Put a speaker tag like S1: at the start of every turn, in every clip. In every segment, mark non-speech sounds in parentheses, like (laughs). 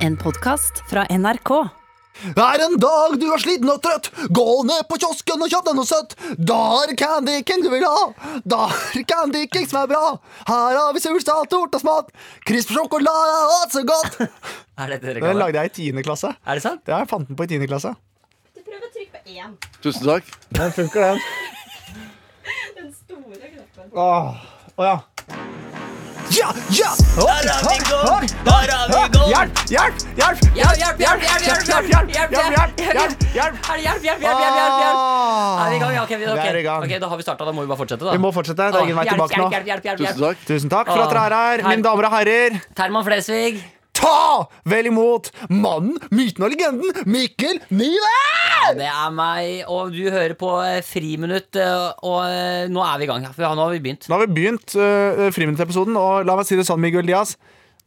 S1: En podkast fra NRK.
S2: Hver en dag du er sliten og trøtt, gå ned på kiosken og kjøp deg noe søtt. Da er Candy King du vil ha. Da er Candy King som er bra. Her har vi surstad, tort og smat. Krisp sjokolade og så godt.
S3: Er
S2: (laughs)
S3: dette
S2: Den
S3: reklame?
S2: lagde jeg i tiende klasse.
S3: Er det sant?
S2: Det jeg fant den på i tiende klasse.
S4: Du prøver å trykke på én.
S5: Tusen takk.
S2: Den funker, den.
S4: Den store knappen.
S2: Åh, åh ja. Ja, ja! Oi,
S3: Der er vi i gang!
S2: oi, oi,
S3: Der er vi i gang!
S2: Hjelp, hjelp, hjelp!
S3: Hjelp, hjelp, hjelp, hjelp, hjelp, hjelp, hjelp, hjelp,
S2: hjelp, hjelp, hjelp!
S3: Er det hjelp, hjelp, hjelp, hjelp, hjelp, hjelp?
S2: Ah.
S3: Er vi i gang? Ja, ok, vi- ok.
S2: Vi er i gang.
S3: Ok, da har vi startet, da må vi bare fortsette da
S2: Vi må fortsette. Det er ingen vei
S3: Hjelp,
S2: tilbake
S3: hjelp,
S2: nå.
S3: hjelp, hjelp, hjelp,
S5: Tusen
S3: hjelp.
S5: takk.
S2: Tusen takk
S3: Ah.
S2: for at dere er her,
S3: Her.
S2: mine damer og herrer.
S3: Terman Flesvig
S2: Ta vel imot mannen, myten og legenden Mikkel Nyve!
S3: Det er meg, og du hører på eh, Friminutt eh, Og eh, nå er vi i gang, ja, for nå har vi begynt
S2: Nå har vi begynt uh, Friminutt-episoden, og la meg si det sånn, Miguel Diaz.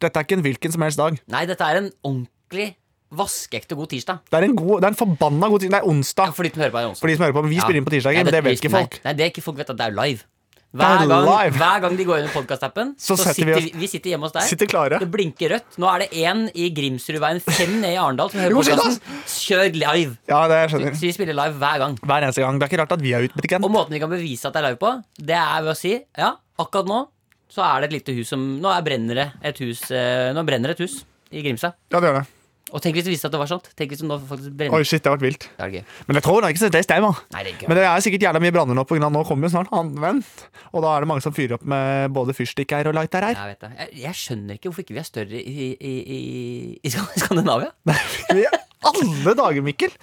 S2: Dette er ikke en hvilken som helst dag.
S3: Nei, dette er en ordentlig vaskeekte god tirsdag
S2: Det er en, god, det er en forbanna god tirsdag. Det er
S3: Ja,
S2: onsdag.
S3: For de som hører på her i onsdag
S2: For de som hører på, men Vi
S3: Ja.
S2: spiller inn på tirsdager,
S3: Ja,
S2: men det vet
S3: visste-
S2: ikke folk.
S3: Nei, nei, det er ikke folk vet at det er live.
S2: Det
S3: Hver
S2: er
S3: gang,
S2: live.
S3: hver gang de går inn i podkastappen,
S2: Så
S3: så,
S2: setter vi
S3: sitter
S2: oss-
S3: vi, vi sitter hjemme hos deg.
S2: Sitter klare.
S3: Det blinker rødt. Nå er det én i Grimsrudveien, fem ned i Arendal, som hører
S2: Jo, skynd
S3: podkasten. Kjør live!
S2: Ja, det skjønner
S3: Så vi spiller live hver gang.
S2: Hver eneste gang. Det er ikke rart at vi er ute,
S3: Og
S2: Betikken.
S3: måten vi kan bevise at det er live på, det er ved å si ja, akkurat nå så er det et lite hus som Nå er brenner det et hus eh, Nå brenner det et hus i Grimstad.
S2: Ja, det gjør det.
S3: Og tenk hvis det viste seg at det var sant. Tenk hvis det nå faktisk brenner.
S2: Oi, shit, det har vært vilt.
S3: Det er gøy.
S2: Men jeg tror det er ikke så det stemmer.
S3: Nei, det er ikke
S2: Men det er sikkert jævla mye branner nå, på grunn av nå kommer jo snart anvendt. Og da er det mange som fyrer opp med både fyrstikker og lighter her.
S3: Jeg vet det. Jeg, jeg skjønner ikke hvorfor ikke vi er større i, i, i, i Sk-
S2: (laughs)
S3: Skandinavia.
S2: I alle dager, Mikkel!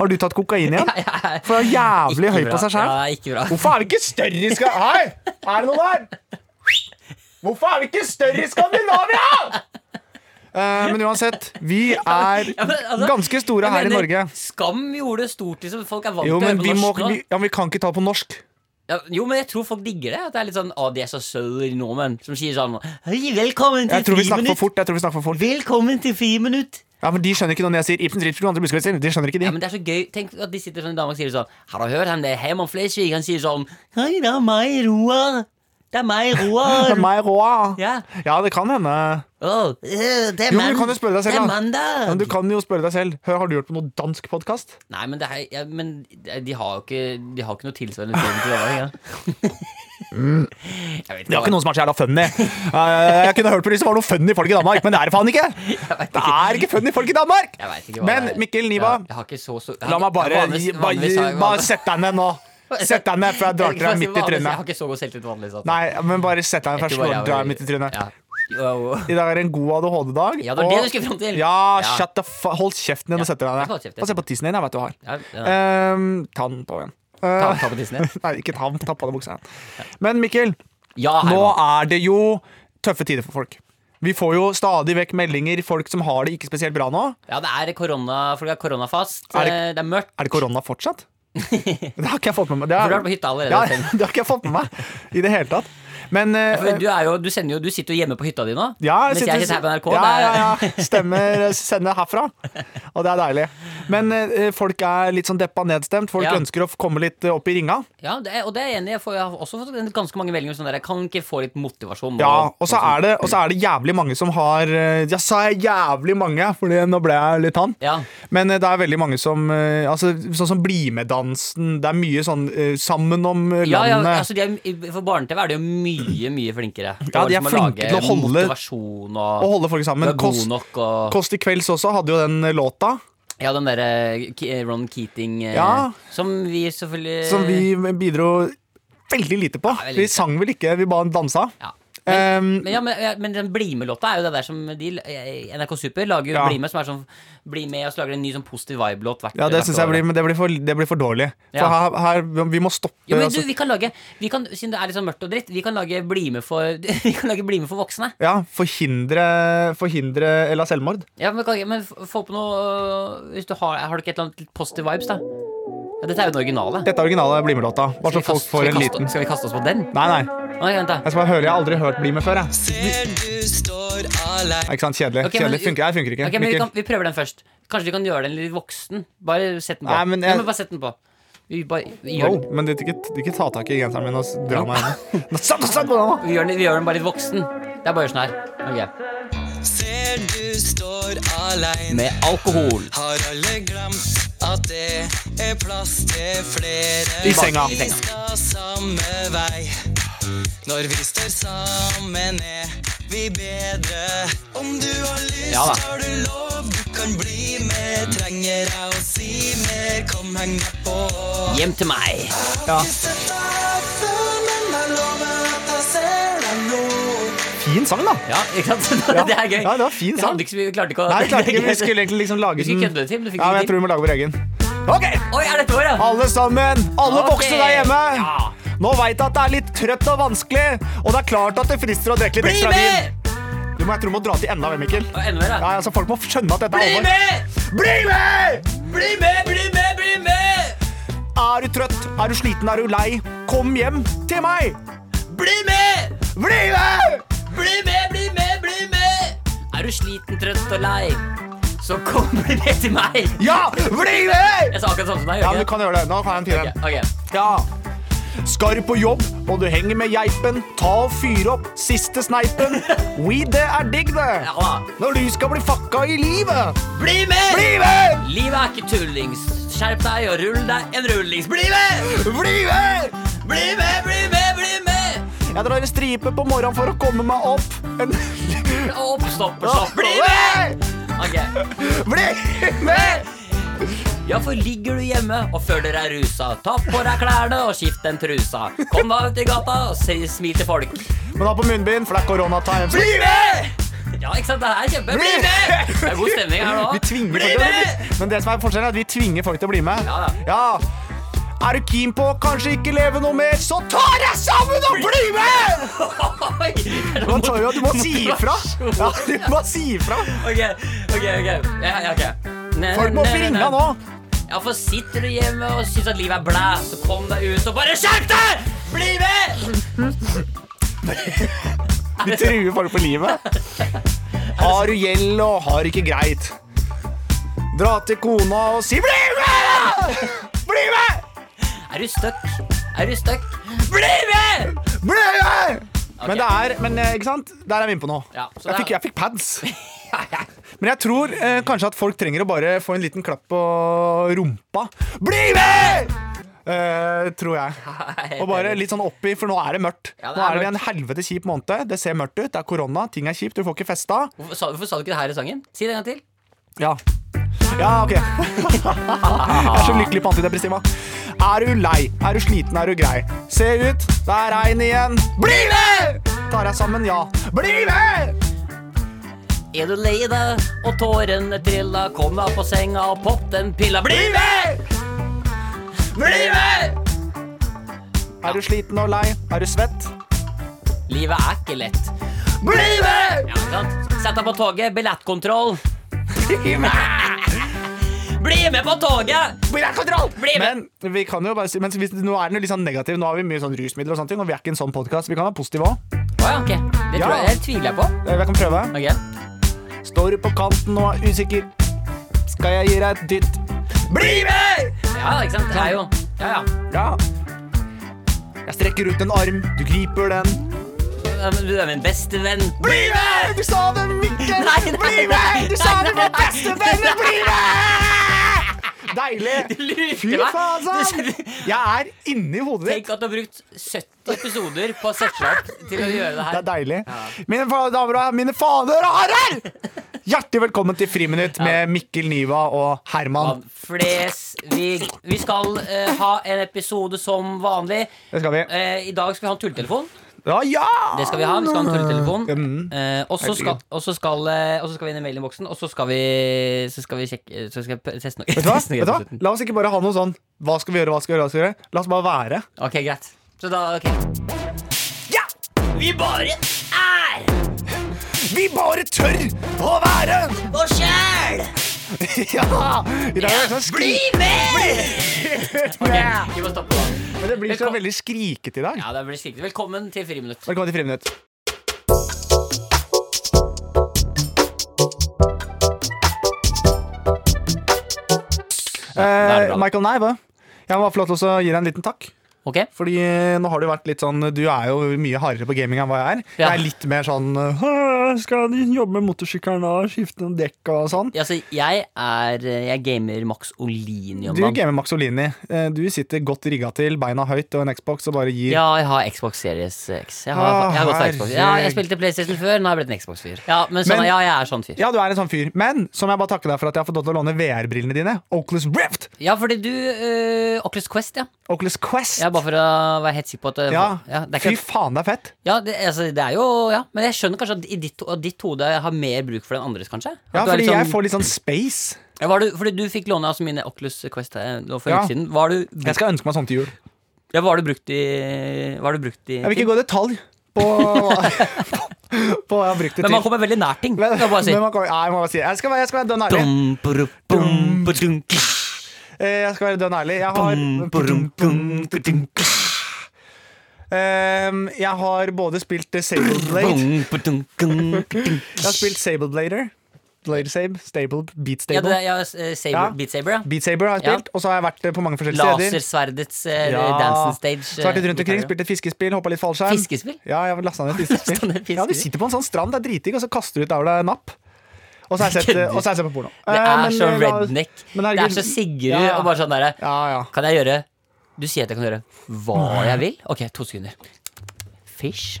S2: Har du tatt kokain igjen? For det er jævlig høy på seg sjæl.
S3: Ja, ikke bra.
S2: Hvorfor er vi ikke større i Skandinavia? Hei! Er det noe der? Hvorfor er vi ikke større i Skandinavia? Eh, men uansett, vi er
S3: Ja, men, altså,
S2: ganske store
S3: jeg
S2: her i
S3: mener,
S2: Norge.
S3: Skam gjorde det stort. Liksom. Folk er vant
S2: Jo,
S3: til å
S2: men
S3: høre på
S2: vi, må,
S3: norsk nå.
S2: vi, ja, vi kan ikke ta på norsk.
S3: Ja, jo, men jeg tror folk digger det. At det er litt sånn Å, de er så søte nordmenn som sier sånn Hei, velkommen til
S2: Jeg tror vi snakker
S3: friminutt!
S2: for fort. Jeg tror vi snakker for fort.
S3: Velkommen til friminutt!
S2: Ja, men De skjønner ikke når jeg sier Ibsens Ritz, andre buskevitser. De skjønner ikke
S3: Ja,
S2: de.
S3: men det er så gøy. Tenk at de sitter sånn i Danmark og sier sånn Har du hørt han der Herman Flesvig? Han sier sånn Hei, det er meg, Roar. Det er
S2: (laughs)
S3: meg,
S2: Det
S3: Roar.
S2: er meg, Roa.
S3: Ja.
S2: Ja, det kan hende.
S3: Å, øh, det er
S2: Jo, men du
S3: mann-
S2: kan jo spørre deg selv,
S3: Det er
S2: da.
S3: mandag.
S2: Men du kan jo spørre deg selv. Hør, har du hørt på noe dansk podkast?
S3: Nei, men, det er, ja, men de har jo ikke De har ikke noe tilsvarende film til Danmark. Ja. Jeg
S2: Det
S3: vet hva-
S2: var Mm. ikke noen som er så jævla funny. Eh, Jeg kunne hørt på de som var noe funny folk i Danmark, men det er det faen ikke! Det er ikke funny folk i Danmark!
S3: Jeg vet ikke hva
S2: Men
S3: det er.
S2: Mikkel Niva,
S3: ja, Jeg har ikke så, så jeg
S2: la
S3: har-
S2: meg bare,
S3: vanligvis-
S2: gi- bare,
S3: vanligvis har
S2: gi-
S3: jeg-
S2: bare sett deg ned nå. Sett deg ned før jeg drar til deg
S3: Vanligvis-
S2: midt i
S3: Jeg har
S2: trynet.
S3: ikke så god selvtillit vanligvis. altså.
S2: Nei, men bare sett deg ned
S3: Jeg
S2: først
S3: tror bare
S2: og
S3: jeg
S2: drar
S3: var-
S2: deg midt i trynet.
S3: Ja. Jo, jo.
S2: I dag er en god ADHD-dag.
S3: Ja, det var det du skulle fram til.
S2: Ja,
S3: Ja.
S2: shut the fa Hold kjeften din og sett
S3: jeg
S2: deg
S3: får
S2: ned.
S3: kjeft, jeg
S2: Få se på tissen din, jeg vet du har.
S3: Ja, ja.
S2: Ehm, ta den på igjen.
S3: Ta,
S2: Eh,
S3: ta på tissen din.
S2: (laughs) Nei, ikke ta den. Ta på deg buksa igjen. Men Mikkel,
S3: Ja,
S2: Nå
S3: Herman.
S2: er det jo tøffe tider for folk. Vi får jo stadig vekk meldinger folk som har det ikke spesielt bra nå.
S3: ja, det er korona. Folk er koronafast.
S2: Er det-
S3: eh, det er mørkt.
S2: Er det korona fortsatt?
S3: (laughs)
S2: Det har ikke jeg fått med meg. Det
S3: For
S2: er,
S3: du har vært på hytta allerede.
S2: ja, (laughs)
S3: Finn.
S2: det har ikke jeg fått med meg i det hele tatt. Men eh,
S3: For du, er jo, du, sender jo, du sitter jo hjemme på hytta di nå.
S2: ja,
S3: mens jeg sitter her på NRK.
S2: Ja,
S3: det er-
S2: ja,
S3: (laughs)
S2: ja. Stemmer. eh, Sender herfra. Og det er deilig. Men eh, folk er litt sånn deppa nedstemt. Folk
S3: Ja.
S2: ønsker å komme litt eh, opp i ringa.
S3: Ja, det er, og det er jeg enig i. Jeg, får, jeg har også fått en- ganske mange meldinger om sånn der. Jeg kan ikke få litt motivasjon. liksom.
S2: Ja, og så er det, og så er det jævlig mange som har eh, Ja, sa jeg jævlig mange, Fordi nå ble jeg litt han.
S3: Ja.
S2: Men eh, det er veldig mange som eh, altså, Sånn som BlimE-dansen. Det er mye sånn eh, sammen om eh,
S3: Ja, ja,
S2: landet. Ja,
S3: altså de er, for barne-TV er de jo mye, mye flinkere.
S2: Ja, de er
S3: liksom
S2: flinke
S3: lage
S2: til å holde-
S3: motivasjon og,
S2: og holde folk sammen.
S3: du er
S2: Kåss
S3: god nok og
S2: Kåss til kvelds også hadde jo den eh, låta
S3: Ja, den derre K- Ron Keating eh,
S2: Ja.
S3: som vi selvfølgelig
S2: som vi bidro veldig lite på.
S3: Eh. veldig
S2: Vi
S3: lite.
S2: sang vel ikke, vi bare dansa.
S3: ja. Men,
S2: Ehm,
S3: men, ja, men, ja, men den BlimE-låta er jo det der som de, eh, NRK Super lager jo
S2: Ja.
S3: BlimE, som er sånn Bli med, og så lager de en ny sånn positiv vibe-låt hvert
S2: ja, det
S3: hvert
S2: syns jeg
S3: år.
S2: blir, men det blir for, det blir for dårlig. For her,
S3: Ja.
S2: her, vi må stoppe.
S3: Jo, men du,
S2: altså.
S3: vi kan lage vi kan, Siden det er litt sånn mørkt og dritt, vi kan lage BlimE for, (laughs) vi kan lage Bli med for voksne.
S2: Ja, forhindre, forhindre Ella selvmord.
S3: Ja, men, kan- men f- få på noe øh, Hvis du har, har du ikke et eller annet litt positive vibes, da? Ja, dette er jo den originale.
S2: Dette er originale BlimE-låta. Bare så
S3: Skal vi
S2: folk
S3: kaste-
S2: får
S3: skal
S2: en
S3: vi kaste-
S2: liten
S3: Skal vi kaste oss på den?
S2: Nei, nei.
S3: Nei, vent, da.
S2: Jeg skal bare høre, jeg har aldri hørt BlimE før. Jeg.
S6: Ser du står aleine
S2: Ikke sant? Kjedelig.
S3: Ok, men-
S2: Kjedelig. Funker, jeg funker ikke.
S3: Ok, men vi,
S2: Mikkel.
S3: kan, vi prøver den først. Kanskje vi kan gjøre den litt voksen? Bare sett den på.
S2: Nei, men jeg-
S3: Ja, bare sett den på. Vi, bare, vi, gjør,
S2: Jo,
S3: den-
S2: men det, ikke, ikke ta tak i genseren min og s- dra meg
S3: (laughs)
S2: inn. Nå, Sett sett på den, da!
S3: vi, gjør den, vi gjør den bare litt voksen. Det er bare sånn her. Ok.
S6: Ser du står står aleine.
S3: med alkohol.
S6: Har alle glemt at det er plass til flere?
S2: I senga.
S6: Vi skal samme vei. Når vi står sammen, er vi bedre. Om du har lyst,
S3: Ja da.
S6: har du lov. Du kan bli med. Trenger jeg å si mer? Kom, heng deg på.
S3: Hjem til meg.
S2: Ja.
S6: Kysset deg før, men jeg lover at jeg ser deg nå.
S2: Fin sang, da.
S3: Ja, ikke sant? (laughs)
S2: Ja.
S3: Det er gøy.
S2: Ja, det var fin
S3: Det
S2: sang.
S3: handler ikke så mye- vi klarte ikke å
S2: Nei, jeg klarte
S3: (laughs)
S2: ikke. Vi skulle egentlig liksom lage
S3: Vi skulle
S2: den-
S3: kødde det til, men du fikk
S2: Ja, men jeg
S3: det
S2: tror
S3: til.
S2: vi må lage vår egen. Ok,
S3: Oi, er dette vår, ja?
S2: alle sammen. Alle
S3: Ok.
S2: voksne der hjemme.
S3: Ja.
S2: Nå veit jeg at det er litt trøtt og vanskelig, og det er klart at det frister å drikke litt
S3: Bli
S2: ekstra vin.
S3: med!
S2: Du må, jeg tror du må dra til enda, Mikkel.
S3: Og enda mer, da.
S2: Ja, altså, folk må skjønne at dette er
S3: Bli
S2: alvor.
S3: med!
S2: Bli med!
S3: Bli med, bli med, bli med!
S2: Er du trøtt? Er du sliten? Er du lei? Kom hjem til meg!
S3: Bli med!
S2: Bli med!
S3: Bli med, bli med, bli med! Er du sliten, trøtt og lei, så kom (laughs) bli med til meg.
S2: Ja, bli med!
S3: Jeg sa akkurat sånn som deg,
S2: Ja, men du
S3: gjør jeg ikke?
S2: kan gjøre det. Nå kan jeg en fire.
S3: Ok, ok.
S2: Ja. Skal du på jobb, og du henger med geipen, ta og fyr opp siste
S3: (laughs)
S2: sneipen. Weed, det er digg, det.
S3: Ja da.
S2: Når du skal bli fucka i livet.
S3: Bli med!
S2: Bli med!
S3: Livet er ikke tullings. Skjerp deg og rull deg en rullings. Bli med!
S2: Bli med!
S3: Bli med, bli med, bli med!
S2: Jeg drar en stripe på morgenen for å komme meg opp. En...
S3: Opp, stopp, stopp. Bli med! Ok.
S2: Bli med!
S3: Ja, for ligger du hjemme og føler deg rusa, ta på deg klærne og skift den trusa. Kom deg ut i gata og si- smil til folk.
S2: Men ha på munnbind, for det er corona times.
S3: Bli med! Ja, ikke sant? Det her er kjempe. Bli med! Det er god stemning her nå.
S2: Vi tvinger
S3: Bli
S2: folk
S3: med!
S2: til å Men det som er forskjellen, er at vi tvinger folk til å bli med.
S3: Ja,
S2: Er du keen på å kanskje ikke leve noe mer, så ta deg sammen og bli med!
S3: Oi!
S2: Du må, ta- ja, du må si ifra. Ja, du må si ifra.
S3: Ok, ok, ok. Ja, ja, ok. Ne-
S2: Folk må
S3: ne-
S2: bli
S3: ne-
S2: ringa
S3: ne-
S2: nå.
S3: Ja, for sitter du hjemme og syns at livet er blæ, så kom deg ut og bare skjerp deg! Bli med!
S2: Du truer folk på livet. Har du gjeld og har ikke greit, dra til kona og si 'bli med'! Bli med!
S3: Er du stuck? Er du stuck? Bli med!
S2: Bli med! Men det er men, eh, ikke sant? Der er vi inne på nå.
S3: Ja,
S2: jeg,
S3: så det er-
S2: fikk, jeg fikk pads. Men jeg tror eh, kanskje at folk trenger å bare få en liten klapp på rumpa. Bli med! Eh, tror jeg. Og bare litt sånn oppi, for nå er det mørkt.
S3: Ja, det
S2: nå
S3: er
S2: er det en helvete kjip måned. Det ser mørkt ut. Det er korona, ting er kjipt, du får ikke festa.
S3: Hvorfor sa, hvorfor sa du ikke det her i sangen? Si det en gang til.
S2: Ja. Ja, ok. (laughs) Jeg er så lykkelig på antidepressiva. Er du lei? Er du sliten? Er du grei? Se ut, det er regn igjen. Bli med! Tar deg sammen, ja. Bli med!
S3: Er du lei deg, og tårene trilla, kom deg på senga og pop den pilla. Bli med! Bli med!
S2: Er du sliten og lei? Er du svett?
S3: Livet er ikke lett.
S2: Bli med!
S3: Ja, ikke sant? Sett deg på toget. Billettkontroll.
S2: Bli med!
S3: Bli med på toget!
S2: Bli med kontroll!
S3: Bli med!
S2: Men vi kan jo bare si men hvis, nå er den jo litt sånn negativ. Nå har vi mye sånn rusmidler og sånne ting, og vi er ikke en sånn podkast. Vi kan være positive òg.
S3: Å ja, ok. Det
S2: Ja.
S3: tror jeg, jeg tviler jeg på.
S2: Jeg Eh, kan prøve.
S3: Ok.
S2: Står du på kanten og er usikker, skal jeg gi deg et dytt. Bli med!
S3: Ja, ikke sant? Det er jo Ja, ja.
S2: Ja. Jeg strekker ut en arm, du griper den.
S3: Du er min beste venn.
S2: Bli med! Du sa det, Mikkel!
S3: Nei, nei,
S2: Bli med! Du sa
S3: nei,
S2: det med
S3: nei.
S2: bestevenn! Bli med!
S3: (laughs) Du
S2: Deilig.
S3: lurte
S2: Fy
S3: meg.
S2: faen,
S3: Du-
S2: sann! Jeg er inni hodet ditt.
S3: (laughs) Tenk at du har brukt 70 episoder på å sette deg opp til å gjøre det
S2: Det er
S3: her.
S2: deilig. Mine fa- damer og mine fader og herrer! Hjertelig velkommen til Friminutt med Mikkel Niva og Herman.
S3: Flesvig. Vi skal eh, ha en episode som vanlig.
S2: Det skal vi.
S3: Eh, I dag skal vi ha en tulletelefon.
S2: Ja, ja!
S3: Det skal vi ha. Vi skal ha en tulletelefon.
S2: Mm.
S3: Eh, og så skal,
S2: Herregud.
S3: og så skal, eh, og så skal vi inn i mailinboksen, og så skal vi Så skal vi sjekke eh, Så skal jeg teste noe.
S2: Vet du hva?
S3: teste
S2: Vet
S3: noe
S2: du
S3: på
S2: hva?
S3: slutten.
S2: La oss ikke bare ha noe sånn Hva skal vi gjøre, hva skal vi gjøre? Hva skal vi gjøre? La oss bare være.
S3: Ok, greit. Så da ok. Ja! Vi bare er
S2: Vi bare tør å være (laughs)
S3: oss sjæl!
S2: Ja! I dag er det sånn skri...
S3: med! Ok, vi må stoppe da.
S2: Men det blir så
S3: Velkom-
S2: veldig skrikete i dag.
S3: Ja, det blir slik. Velkommen til Friminutt.
S2: Velkommen til Friminutt.
S3: da er det
S2: Eh,
S3: bra.
S2: Michael Neive, jeg må bare få lov til å gi deg en liten takk.
S3: Ok?
S2: Fordi eh, nå har du vært litt sånn Du er jo mye hardere på gaming enn hva jeg er.
S3: Ja.
S2: Jeg er litt mer sånn eh, skal de jobbe med motorsykkelen da? Skifte noen dekk og sånn?
S3: Ja, altså, jeg er eh, Jeg gamer Max Olini om
S2: Du
S3: dagen.
S2: gamer Maxolini. Eh, Du sitter godt rigga til, beina høyt og en Xbox og bare gir
S3: Ja, jeg har Xbox Series X.
S2: Ah,
S3: Jeg har, jeg har gått for Xbox. Ja, jeg spilte PlayStation før, nå har jeg blitt en Xbox-fyr. Ja, men sånn,
S2: Men-
S3: ja, jeg er sånn fyr.
S2: Ja, du er en sånn fyr. Men så må jeg bare takke deg for at jeg har fått lov til å låne VR-brillene dine. Oculus Rift!
S3: Ja, fordi du øh, Oculus Quest, ja.
S2: Oculus Quest.
S3: ja. Bare for å være helt sikker på at øh,
S2: Ja.
S3: det er
S2: Fy
S3: ikke,
S2: faen, det er fett.
S3: ja, det, altså, det er jo Ja, men jeg skjønner kanskje at i ditt, at ditt hode har mer bruk for den andres, kanskje? At
S2: Ja,
S3: du er
S2: fordi
S3: litt sånn-
S2: jeg får litt sånn space.
S3: Ja, var du, fordi du fikk låne altså, mine Oculus Quest eh, nå for en
S2: Ja.
S3: uke siden. Var du,
S2: Jeg skal ønske meg sånn til jul.
S3: ja, var du brukt i Var du brukt i
S2: Jeg vil ikke gå i detalj på, (laughs) på hva jeg har brukt det
S3: Men man
S2: til.
S3: kommer veldig nær ting.
S2: Men,
S3: kan jeg bare si.
S2: men man kommer, ja, jeg må bare si Jeg skal være, jeg skal være dønn ærlig.
S3: Dum, brum, brum, brum,
S2: Eh, Jeg skal være dønn ærlig. Jeg har
S3: brum, brum, brum, brum,
S2: Ehm, Jeg har både spilt eh, Sableblade
S3: brum, brum, brum.
S2: Jeg har spilt Sableblader. Blade Sabe, Stable, Beat
S3: Ja, det
S2: Stable.
S3: er ja, eh, saber,
S2: Ja.
S3: Beat Saber, ja.
S2: Beat Saber har jeg
S3: Ja.
S2: spilt, og så har jeg vært eh, på mange forskjellige steder.
S3: Lasersverdets eh, dancing stage.
S2: Så har jeg vært litt rundt
S3: eh,
S2: omkring,
S3: gitarer.
S2: spilt et fiskespill, hoppa litt fallskjerm.
S3: Fiskespill?
S2: Ja, jeg har lastet ned et
S3: (laughs) Lastet ned et
S2: fiskespill.
S3: fiskespill?
S2: Ja, Du sitter på en sånn strand, det er dritdigg, og så kaster du ut av deg napp. Og så har jeg sett,
S3: (laughs) Kødder.
S2: og så har jeg sett på porno. Eh,
S3: Det er
S2: men,
S3: så
S2: eh, da-
S3: redneck.
S2: men
S3: det
S2: herregud-
S3: er så Sigurd
S2: Ja, ja.
S3: og bare sånn derre
S2: Ja, ja.
S3: Kan jeg gjøre Du sier at jeg kan gjøre hva jeg vil? Ok, to sekunder. Fish.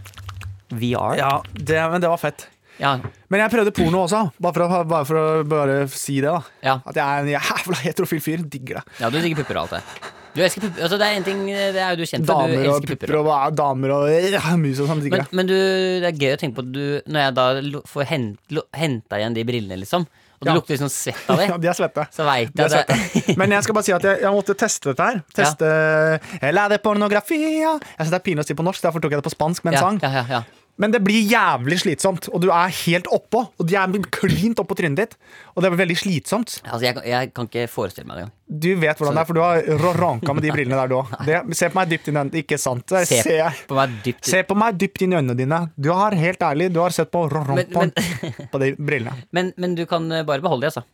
S3: VR.
S2: ja det, men det var fett.
S3: Ja.
S2: Men jeg prøvde porno også, bare for å, bare for å bare si det. da
S3: Ja.
S2: At jeg er en jævla heterofil fyr. Digger det.
S3: ja, du digger pupper og alt det. Du elsker pupper. Altså, det er en ting eh, Det er jo du kjent for. Du
S2: Damer og
S3: elsker
S2: pupper
S3: pupper.
S2: og ja, damer og ja, mus og sånn. Digger
S3: Men,
S2: det.
S3: men du, det er gøy å tenke på at du Når jeg da lo- får hent, lo- henta igjen de brillene, liksom, og det
S2: Ja.
S3: lukter liksom svett av det,
S2: (laughs) Ja, de er svette.
S3: så veit
S2: De
S3: jeg
S2: er
S3: at det.
S2: svette. Men jeg skal bare si at jeg, jeg måtte teste dette her. Teste Eller er det pornografia? Jeg synes Det er pinlig å si på norsk, derfor tok jeg det på spansk med en
S3: Ja,
S2: sang.
S3: ja, ja, ja.
S2: Men det blir jævlig slitsomt, og du er helt oppå. Og de er klint oppå trynet ditt. Og det blir veldig slitsomt.
S3: Altså, jeg, kan- jeg kan ikke forestille meg det engang.
S2: Du vet hvordan det er, for du har rå- ranka
S3: (laughs)
S2: med de brillene der, du òg. Se på meg dypt inn i øynene. Ikke sant? Der
S3: Se
S2: ser jeg.
S3: på meg dypt
S2: Se på meg dypt inn i øynene dine. Du har helt ærlig, du har sett på rå-
S3: Men-
S2: rumpa (laughs) på de brillene.
S3: men, men du kan eh, bare beholde de, altså.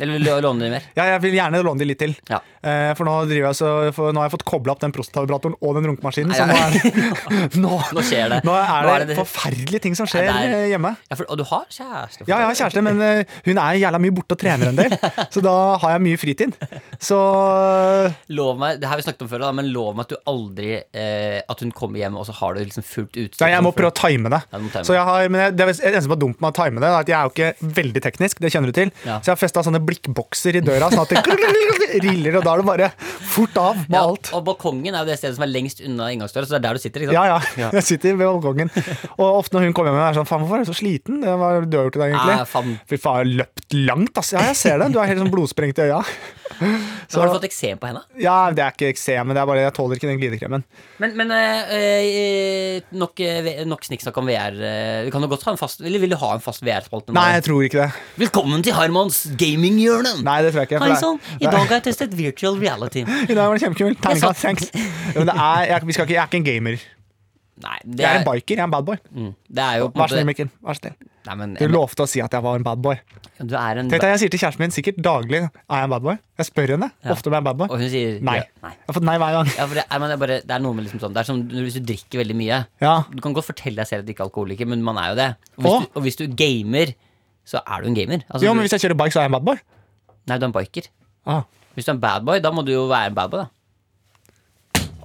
S3: Eller lå- låne de mer.
S2: Ja, jeg vil gjerne låne de litt til.
S3: Ja.
S2: Eh, for, nå driver jeg så, for nå har jeg fått kobla opp den prostatavibratoren og den runkemaskinen. Så nå
S3: Nei, ja.
S2: er, nå,
S3: (laughs) Nå skjer det.
S2: Nå er det,
S3: Nå er det det-
S2: forferdelige ting som skjer
S3: Ja, det er-
S2: eh, hjemme.
S3: Ja, for, og du har kjæreste? for
S2: Ja, jeg har
S3: det.
S2: kjæreste, men eh, hun er jævla mye borte og trener
S3: (laughs)
S2: en del. Så da har jeg mye fritid. Så
S3: Lov meg, det her har vi snakket om før, da, men lov meg at du aldri eh, At hun kommer hjem, og så har du liksom fullt utstyr.
S2: Nei, jeg må prøve å time det.
S3: Ja, du må time
S2: Så jeg har, men jeg, det er det eneste som er dumt med å time det, er at jeg er jo ikke veldig teknisk. Det kjenner du til.
S3: Ja.
S2: Så jeg har festa sånne blikkbokser i døra, sånn at det (laughs) riller, og da er det bare fort av med
S3: ja,
S2: alt.
S3: Og balkongen er jo det stedet som er lengst unna inngangsdøra, så det er der du sitter. ikke sant?
S2: Ja, (laughs) ja. Jeg sitter ved balkongen. Og ofte når hun kommer hjem, er jeg sånn Faen, hvorfor er du så sliten? Det var det du har gjort i dag,
S3: Nei,
S2: egentlig.
S3: faen.
S2: Fy faen, jeg har løpt langt, ass. Ja, jeg ser det. Du er helt sånn blodsprengt i øya.
S3: så har du fått eksem på henne?
S2: Ja, det er ikke eksem, men det er bare jeg tåler ikke den glidekremen.
S3: Men, men eh, eh, nok, eh, V- nok snikksnakk om VR. eh, Vi kan jo godt ha en fast Eller vil du ha en fast VR-spalte?
S2: Nei, jeg tror ikke det.
S3: Velkommen til Harmons gaminghjørne!
S2: Nei, det tror jeg ikke. for
S3: Hei
S2: det er-
S3: sann, i
S2: det er-
S3: dag har jeg testet virtual reality.
S2: I dag var (laughs) det kjempekult. Terningkast
S3: Jeg
S2: seks. Men det er, jeg, vi skal ikke, jeg er ikke en gamer.
S3: Nei, det
S2: Jeg er
S3: er,
S2: en biker. Jeg er en badboy.
S3: mm, det er jo på en
S2: Vær
S3: måte-
S2: snill, Mikkel. Vær snill.
S3: Nei, men,
S2: Du lovte å si at jeg var en badboy.
S3: du er en
S2: Tenk deg, jeg sier til kjæresten min sikkert daglig er jeg en badboy. Jeg spør henne ofte om jeg er en badboy.
S3: Og hun sier
S2: Nei.
S3: Ja, nei.
S2: Jeg har fått nei hver gang.
S3: Ja, for det, er, men det, er bare, det er noe med liksom sånn Det er som når- hvis du drikker veldig mye.
S2: Ja.
S3: Du kan godt fortelle deg selv at du ikke er alkoholiker, men man er jo det. Og hvis,
S2: Åh.
S3: du, og hvis du gamer, så er du en gamer. Altså,
S2: Jo, men
S3: du,
S2: hvis jeg kjører bike, så er jeg en badboy.
S3: nei, du er en biker.
S2: Ah.
S3: Hvis du er en badboy, da må du jo være en badboy, da.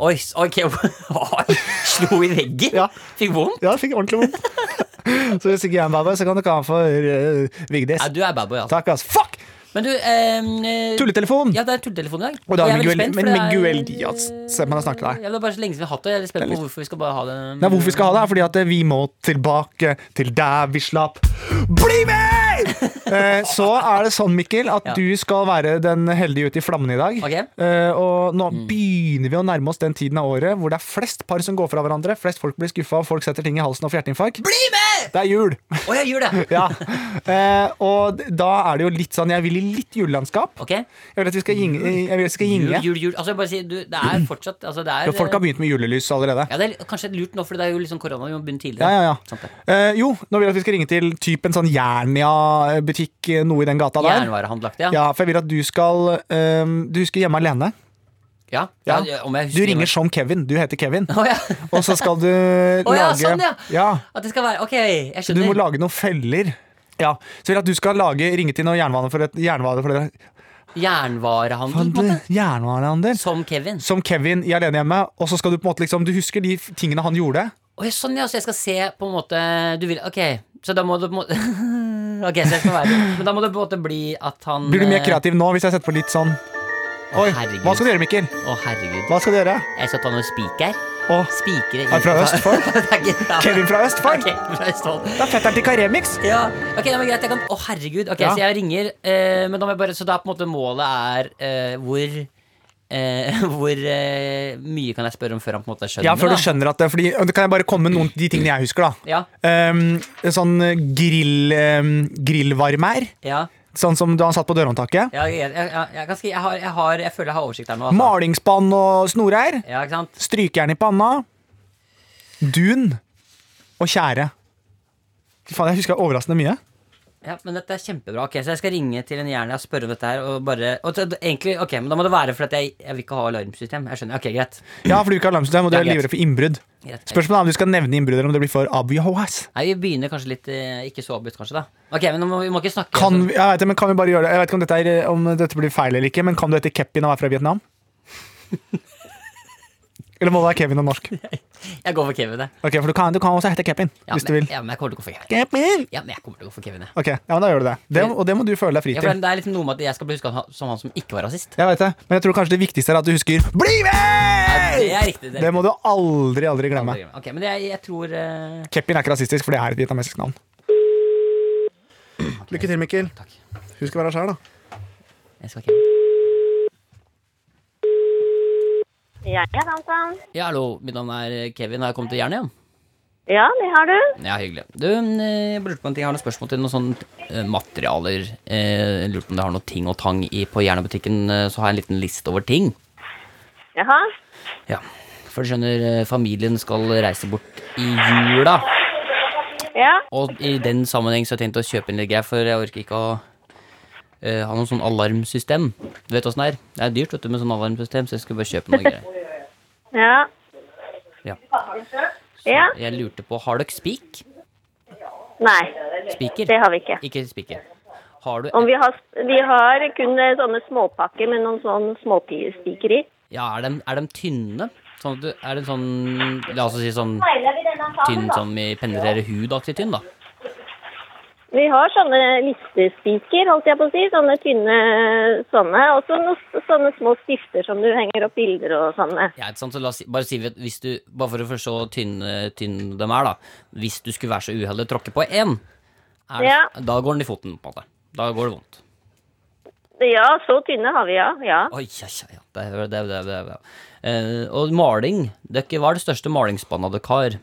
S3: Oi, s- ok (laughs) Oi, Slo i veggen?
S2: Ja.
S3: Fikk vondt?
S2: Ja, jeg fikk ordentlig vondt. (laughs) så hvis ikke jeg er en badboy, så kan du kalle han for eh, Vigdis.
S3: Nei, du er badboy, altså.
S2: Takk, ass. Fuck!
S3: Men du ehm, eh,
S2: Tulletelefon!
S3: (clears throat) Ja, det er tulletelefon i dag.
S2: Og da
S3: Jeg
S2: har
S3: er veldig
S2: Miguel,
S3: spent,
S2: men
S3: for det er-
S2: Miguel Diaz. Se på han og snakke til deg.
S3: Ja, det er bare så lenge siden vi har hatt det. Jeg er litt spent på hvorfor vi skal bare ha det.
S2: Nei, hvorfor vi skal ha det, er fordi at eh, vi må tilbake til der vi slapp Bli
S3: (laughs)
S2: med! Eh, Så er det sånn, Mikkel, at
S3: Ja.
S2: du skal være den heldige ute i flammene i dag.
S3: Ok. Mm.
S2: Eh, Og nå begynner vi å nærme oss den tiden av året hvor det er flest par som går fra hverandre, flest folk blir skuffa, og folk setter ting i halsen og får hjerteinfarkt.
S3: Bli med!
S2: Det er jul! (laughs)
S3: Å, jeg gjør det!
S2: ja. eh, og d- da er det jo litt sånn Jeg vil i litt julelandskap.
S3: Ok.
S2: Jeg vil at vi skal gynge. Jeg vil at vi skal
S3: Jul,
S2: gynge.
S3: jul, jul. Altså, jeg bare sier, du, det
S2: (clears throat)
S3: er fortsatt altså, det er,
S2: For Folk har begynt med julelys allerede.
S3: ja, det er kanskje lurt nå, for det er jo liksom korona. Vi må begynne tidligere. Sånn
S2: Ja, ja, ja.
S3: Sant det.
S2: Eh, jo, nå vil jeg at vi skal ringe til typ en sånn Jernia-butikk, eh, noe i den gata der.
S3: Jernvarehandel, ja.
S2: ehm, Ja, for jeg vil at du skal eh, Du husker Hjemme alene?
S3: Ja,
S2: Ja.
S3: ja, om jeg
S2: Du
S3: husker-
S2: ringer som Kevin. Du heter
S3: (laughs)
S2: Kevin.
S3: Å ja.
S2: Og så skal du
S3: Å ja,
S2: lage
S3: sånn, ja.
S2: Ja,
S3: At det skal være Ok, jeg
S2: Du
S3: skjønner.
S2: må lage noen feller. Ja, Så vil jeg at du skal lage, ringe til noen jernbane for et jernbane for et,
S3: Jernvarehandel, på en måte.
S2: jernvanehandel.
S3: Som Kevin.
S2: Som Kevin i Alenehjemmet. Og så skal du på en måte liksom Du husker de f- tingene han gjorde?
S3: Oi, sånn, ja. Så jeg skal se på en måte Du vil Ok, så da må det på en måte (laughs) Ok, så jeg skal være Men da må det på en måte bli at han
S2: Blir du mer
S3: eh,
S2: kreativ nå hvis jeg setter på litt sånn Oi,
S3: herregud.
S2: hva skal du gjøre, Mikkel?
S3: eh, Å, herregud.
S2: Hva skal du gjøre?
S3: Jeg skal ta noen spiker.
S2: Å,
S3: Spikere
S2: er du fra Østfold?
S3: (laughs) Det er ikke bra.
S2: Kevin fra Østfold?
S3: (laughs) Ok, fra Østfold.
S2: Det er fetteren til Karemix.
S3: Ja, ok, ja, men greit, jeg kan Å, herregud. Ok,
S2: Ja.
S3: Så jeg ringer, eh, men da må jeg bare Så da på en måte målet er eh, hvor eh, (laughs) hvor eh, mye kan jeg spørre om før han på en måte skjønner
S2: Ja, før du
S3: da?
S2: skjønner at det Fordi, og det kan jeg bare komme med noen av de tingene jeg husker, da.
S3: Ja,
S2: Um, sånn grill, um, grillvarmer.
S3: ja,
S2: Sånn som da han satt på dørhåndtaket.
S3: ja, jeg, jeg, jeg, jeg, kan skri- jeg, har, jeg, har, jeg føler jeg har oversikt her nå. altså.
S2: Malingsspann og snorer.
S3: Ja, ikke sant?
S2: Strykejern i panna. Dun. Og tjære. Fy Faen, jeg husker overraskende mye.
S3: Ja, men dette er kjempebra. Ok, Så jeg skal ringe til en jern og spørre om dette her. Og bare, og det- det- egentlig, ok, Men da må det være fordi jeg, jeg vil ikke ha alarmsystem. Jeg skjønner, ok, greit.
S2: Ja, for du ikke har alarmsystem, og du
S3: Ja,
S2: er
S3: greit.
S2: livredd for innbrudd.
S3: greit.
S2: Spørsmålet er om du skal nevne innbrudd, eller om det blir for obvious.
S3: Nei, Vi begynner kanskje litt eh, ikke så avbrutt, kanskje. da Ok, men nå må, Vi må ikke snakke
S2: Kan, vi- jeg vet, det, men kan vi bare gjøre det? Jeg vet ikke om dette, er, eh, om dette blir feil eller ikke, men kan du hete Kepin og være fra
S3: (laughs)
S2: Vietnam? Eller må det være Kevin og norsk?
S3: Jeg går for Kevin. jeg.
S2: Ok, For du kan, du kan også hete Kepin,
S3: Ja,
S2: hvis
S3: men,
S2: du vil.
S3: Ja, men jeg kommer til å gå for Kevin.
S2: Kepin!
S3: Ja, men jeg kommer til å gå for Kevin. jeg.
S2: Ok, ja, men da gjør du det. det. Og det må du føle deg fri
S3: Ja,
S2: til.
S3: for det er liksom noe med at jeg skal bli huska som han som ikke var rasist.
S2: Jeg vet det, men jeg tror kanskje det viktigste er at du husker Bli med!
S3: Det er riktig. Det
S2: Det
S3: er
S2: må du aldri, aldri glemme.
S3: riktig. Ok, Men jeg, jeg tror eh,
S2: Keppin er ikke rasistisk, for det er et vietnamesisk navn. Lykke til, Mikkel.
S3: Takk.
S2: Husk å være sjæl, da.
S3: Jeg skal ha Kevin.
S5: Jeg er Dansan.
S3: Ja, hallo, mitt navn er Kevin. Har jeg kommet til Jernet? Ja?
S5: Ja, det har du.
S3: Ja, hyggelig. Du, eh, jeg lurte på en ting. Jeg har noen spørsmål til noen sånne eh, materialer. Eh, Jeg lurte på om det har noe ting og tang i på Jernbutikken. eh, Så har jeg en liten liste over ting.
S5: Jaha.
S3: Ja. For du skjønner, eh, familien skal reise bort i jula.
S5: Ja.
S3: Og i den sammenheng så har jeg tenkt å kjøpe inn litt greier, for jeg orker ikke å eh, ha noe sånn alarmsystem. Du vet åssen det er? Det er dyrt vet du, med sånn alarmsystem, så jeg skulle bare kjøpe
S5: (laughs)
S3: noe greier.
S5: Ja.
S3: Ja.
S5: Ja.
S3: Jeg lurte på, har dere spik?
S5: Nei,
S3: Spiker?
S5: det har vi ikke.
S3: Ikke spiker. Har du
S5: Om vi har, vi har kun eh, sånne småpakker med noen sånne småpiker i.
S3: Ja, er de, er dem tynne? Sånn at du, er det sånn La oss si sånn tynn sånn. som i penetrerer hud-aktig tynn, da.
S5: Vi har sånne listespiker, holdt jeg på å si. Sånne tynne sånne. Og så noen sånne små stifter som du henger opp bilder og sånne.
S3: Ja, ikke sant? Så la oss si, bare, si, at hvis du, bare for å forstå hvor tynne tynn de er, da. Hvis du skulle være så uheldig å tråkke på én, er det-
S5: Ja.
S3: da går den i foten, på en måte. Da går det vondt.
S5: Ja, så tynne har vi, ja. Ja.
S3: Oi, ja, ja, ja. Det, er- det, er- det, er- det, er- det. er- Eh, og maling. Dere, hva er det største malingsspannet dere har?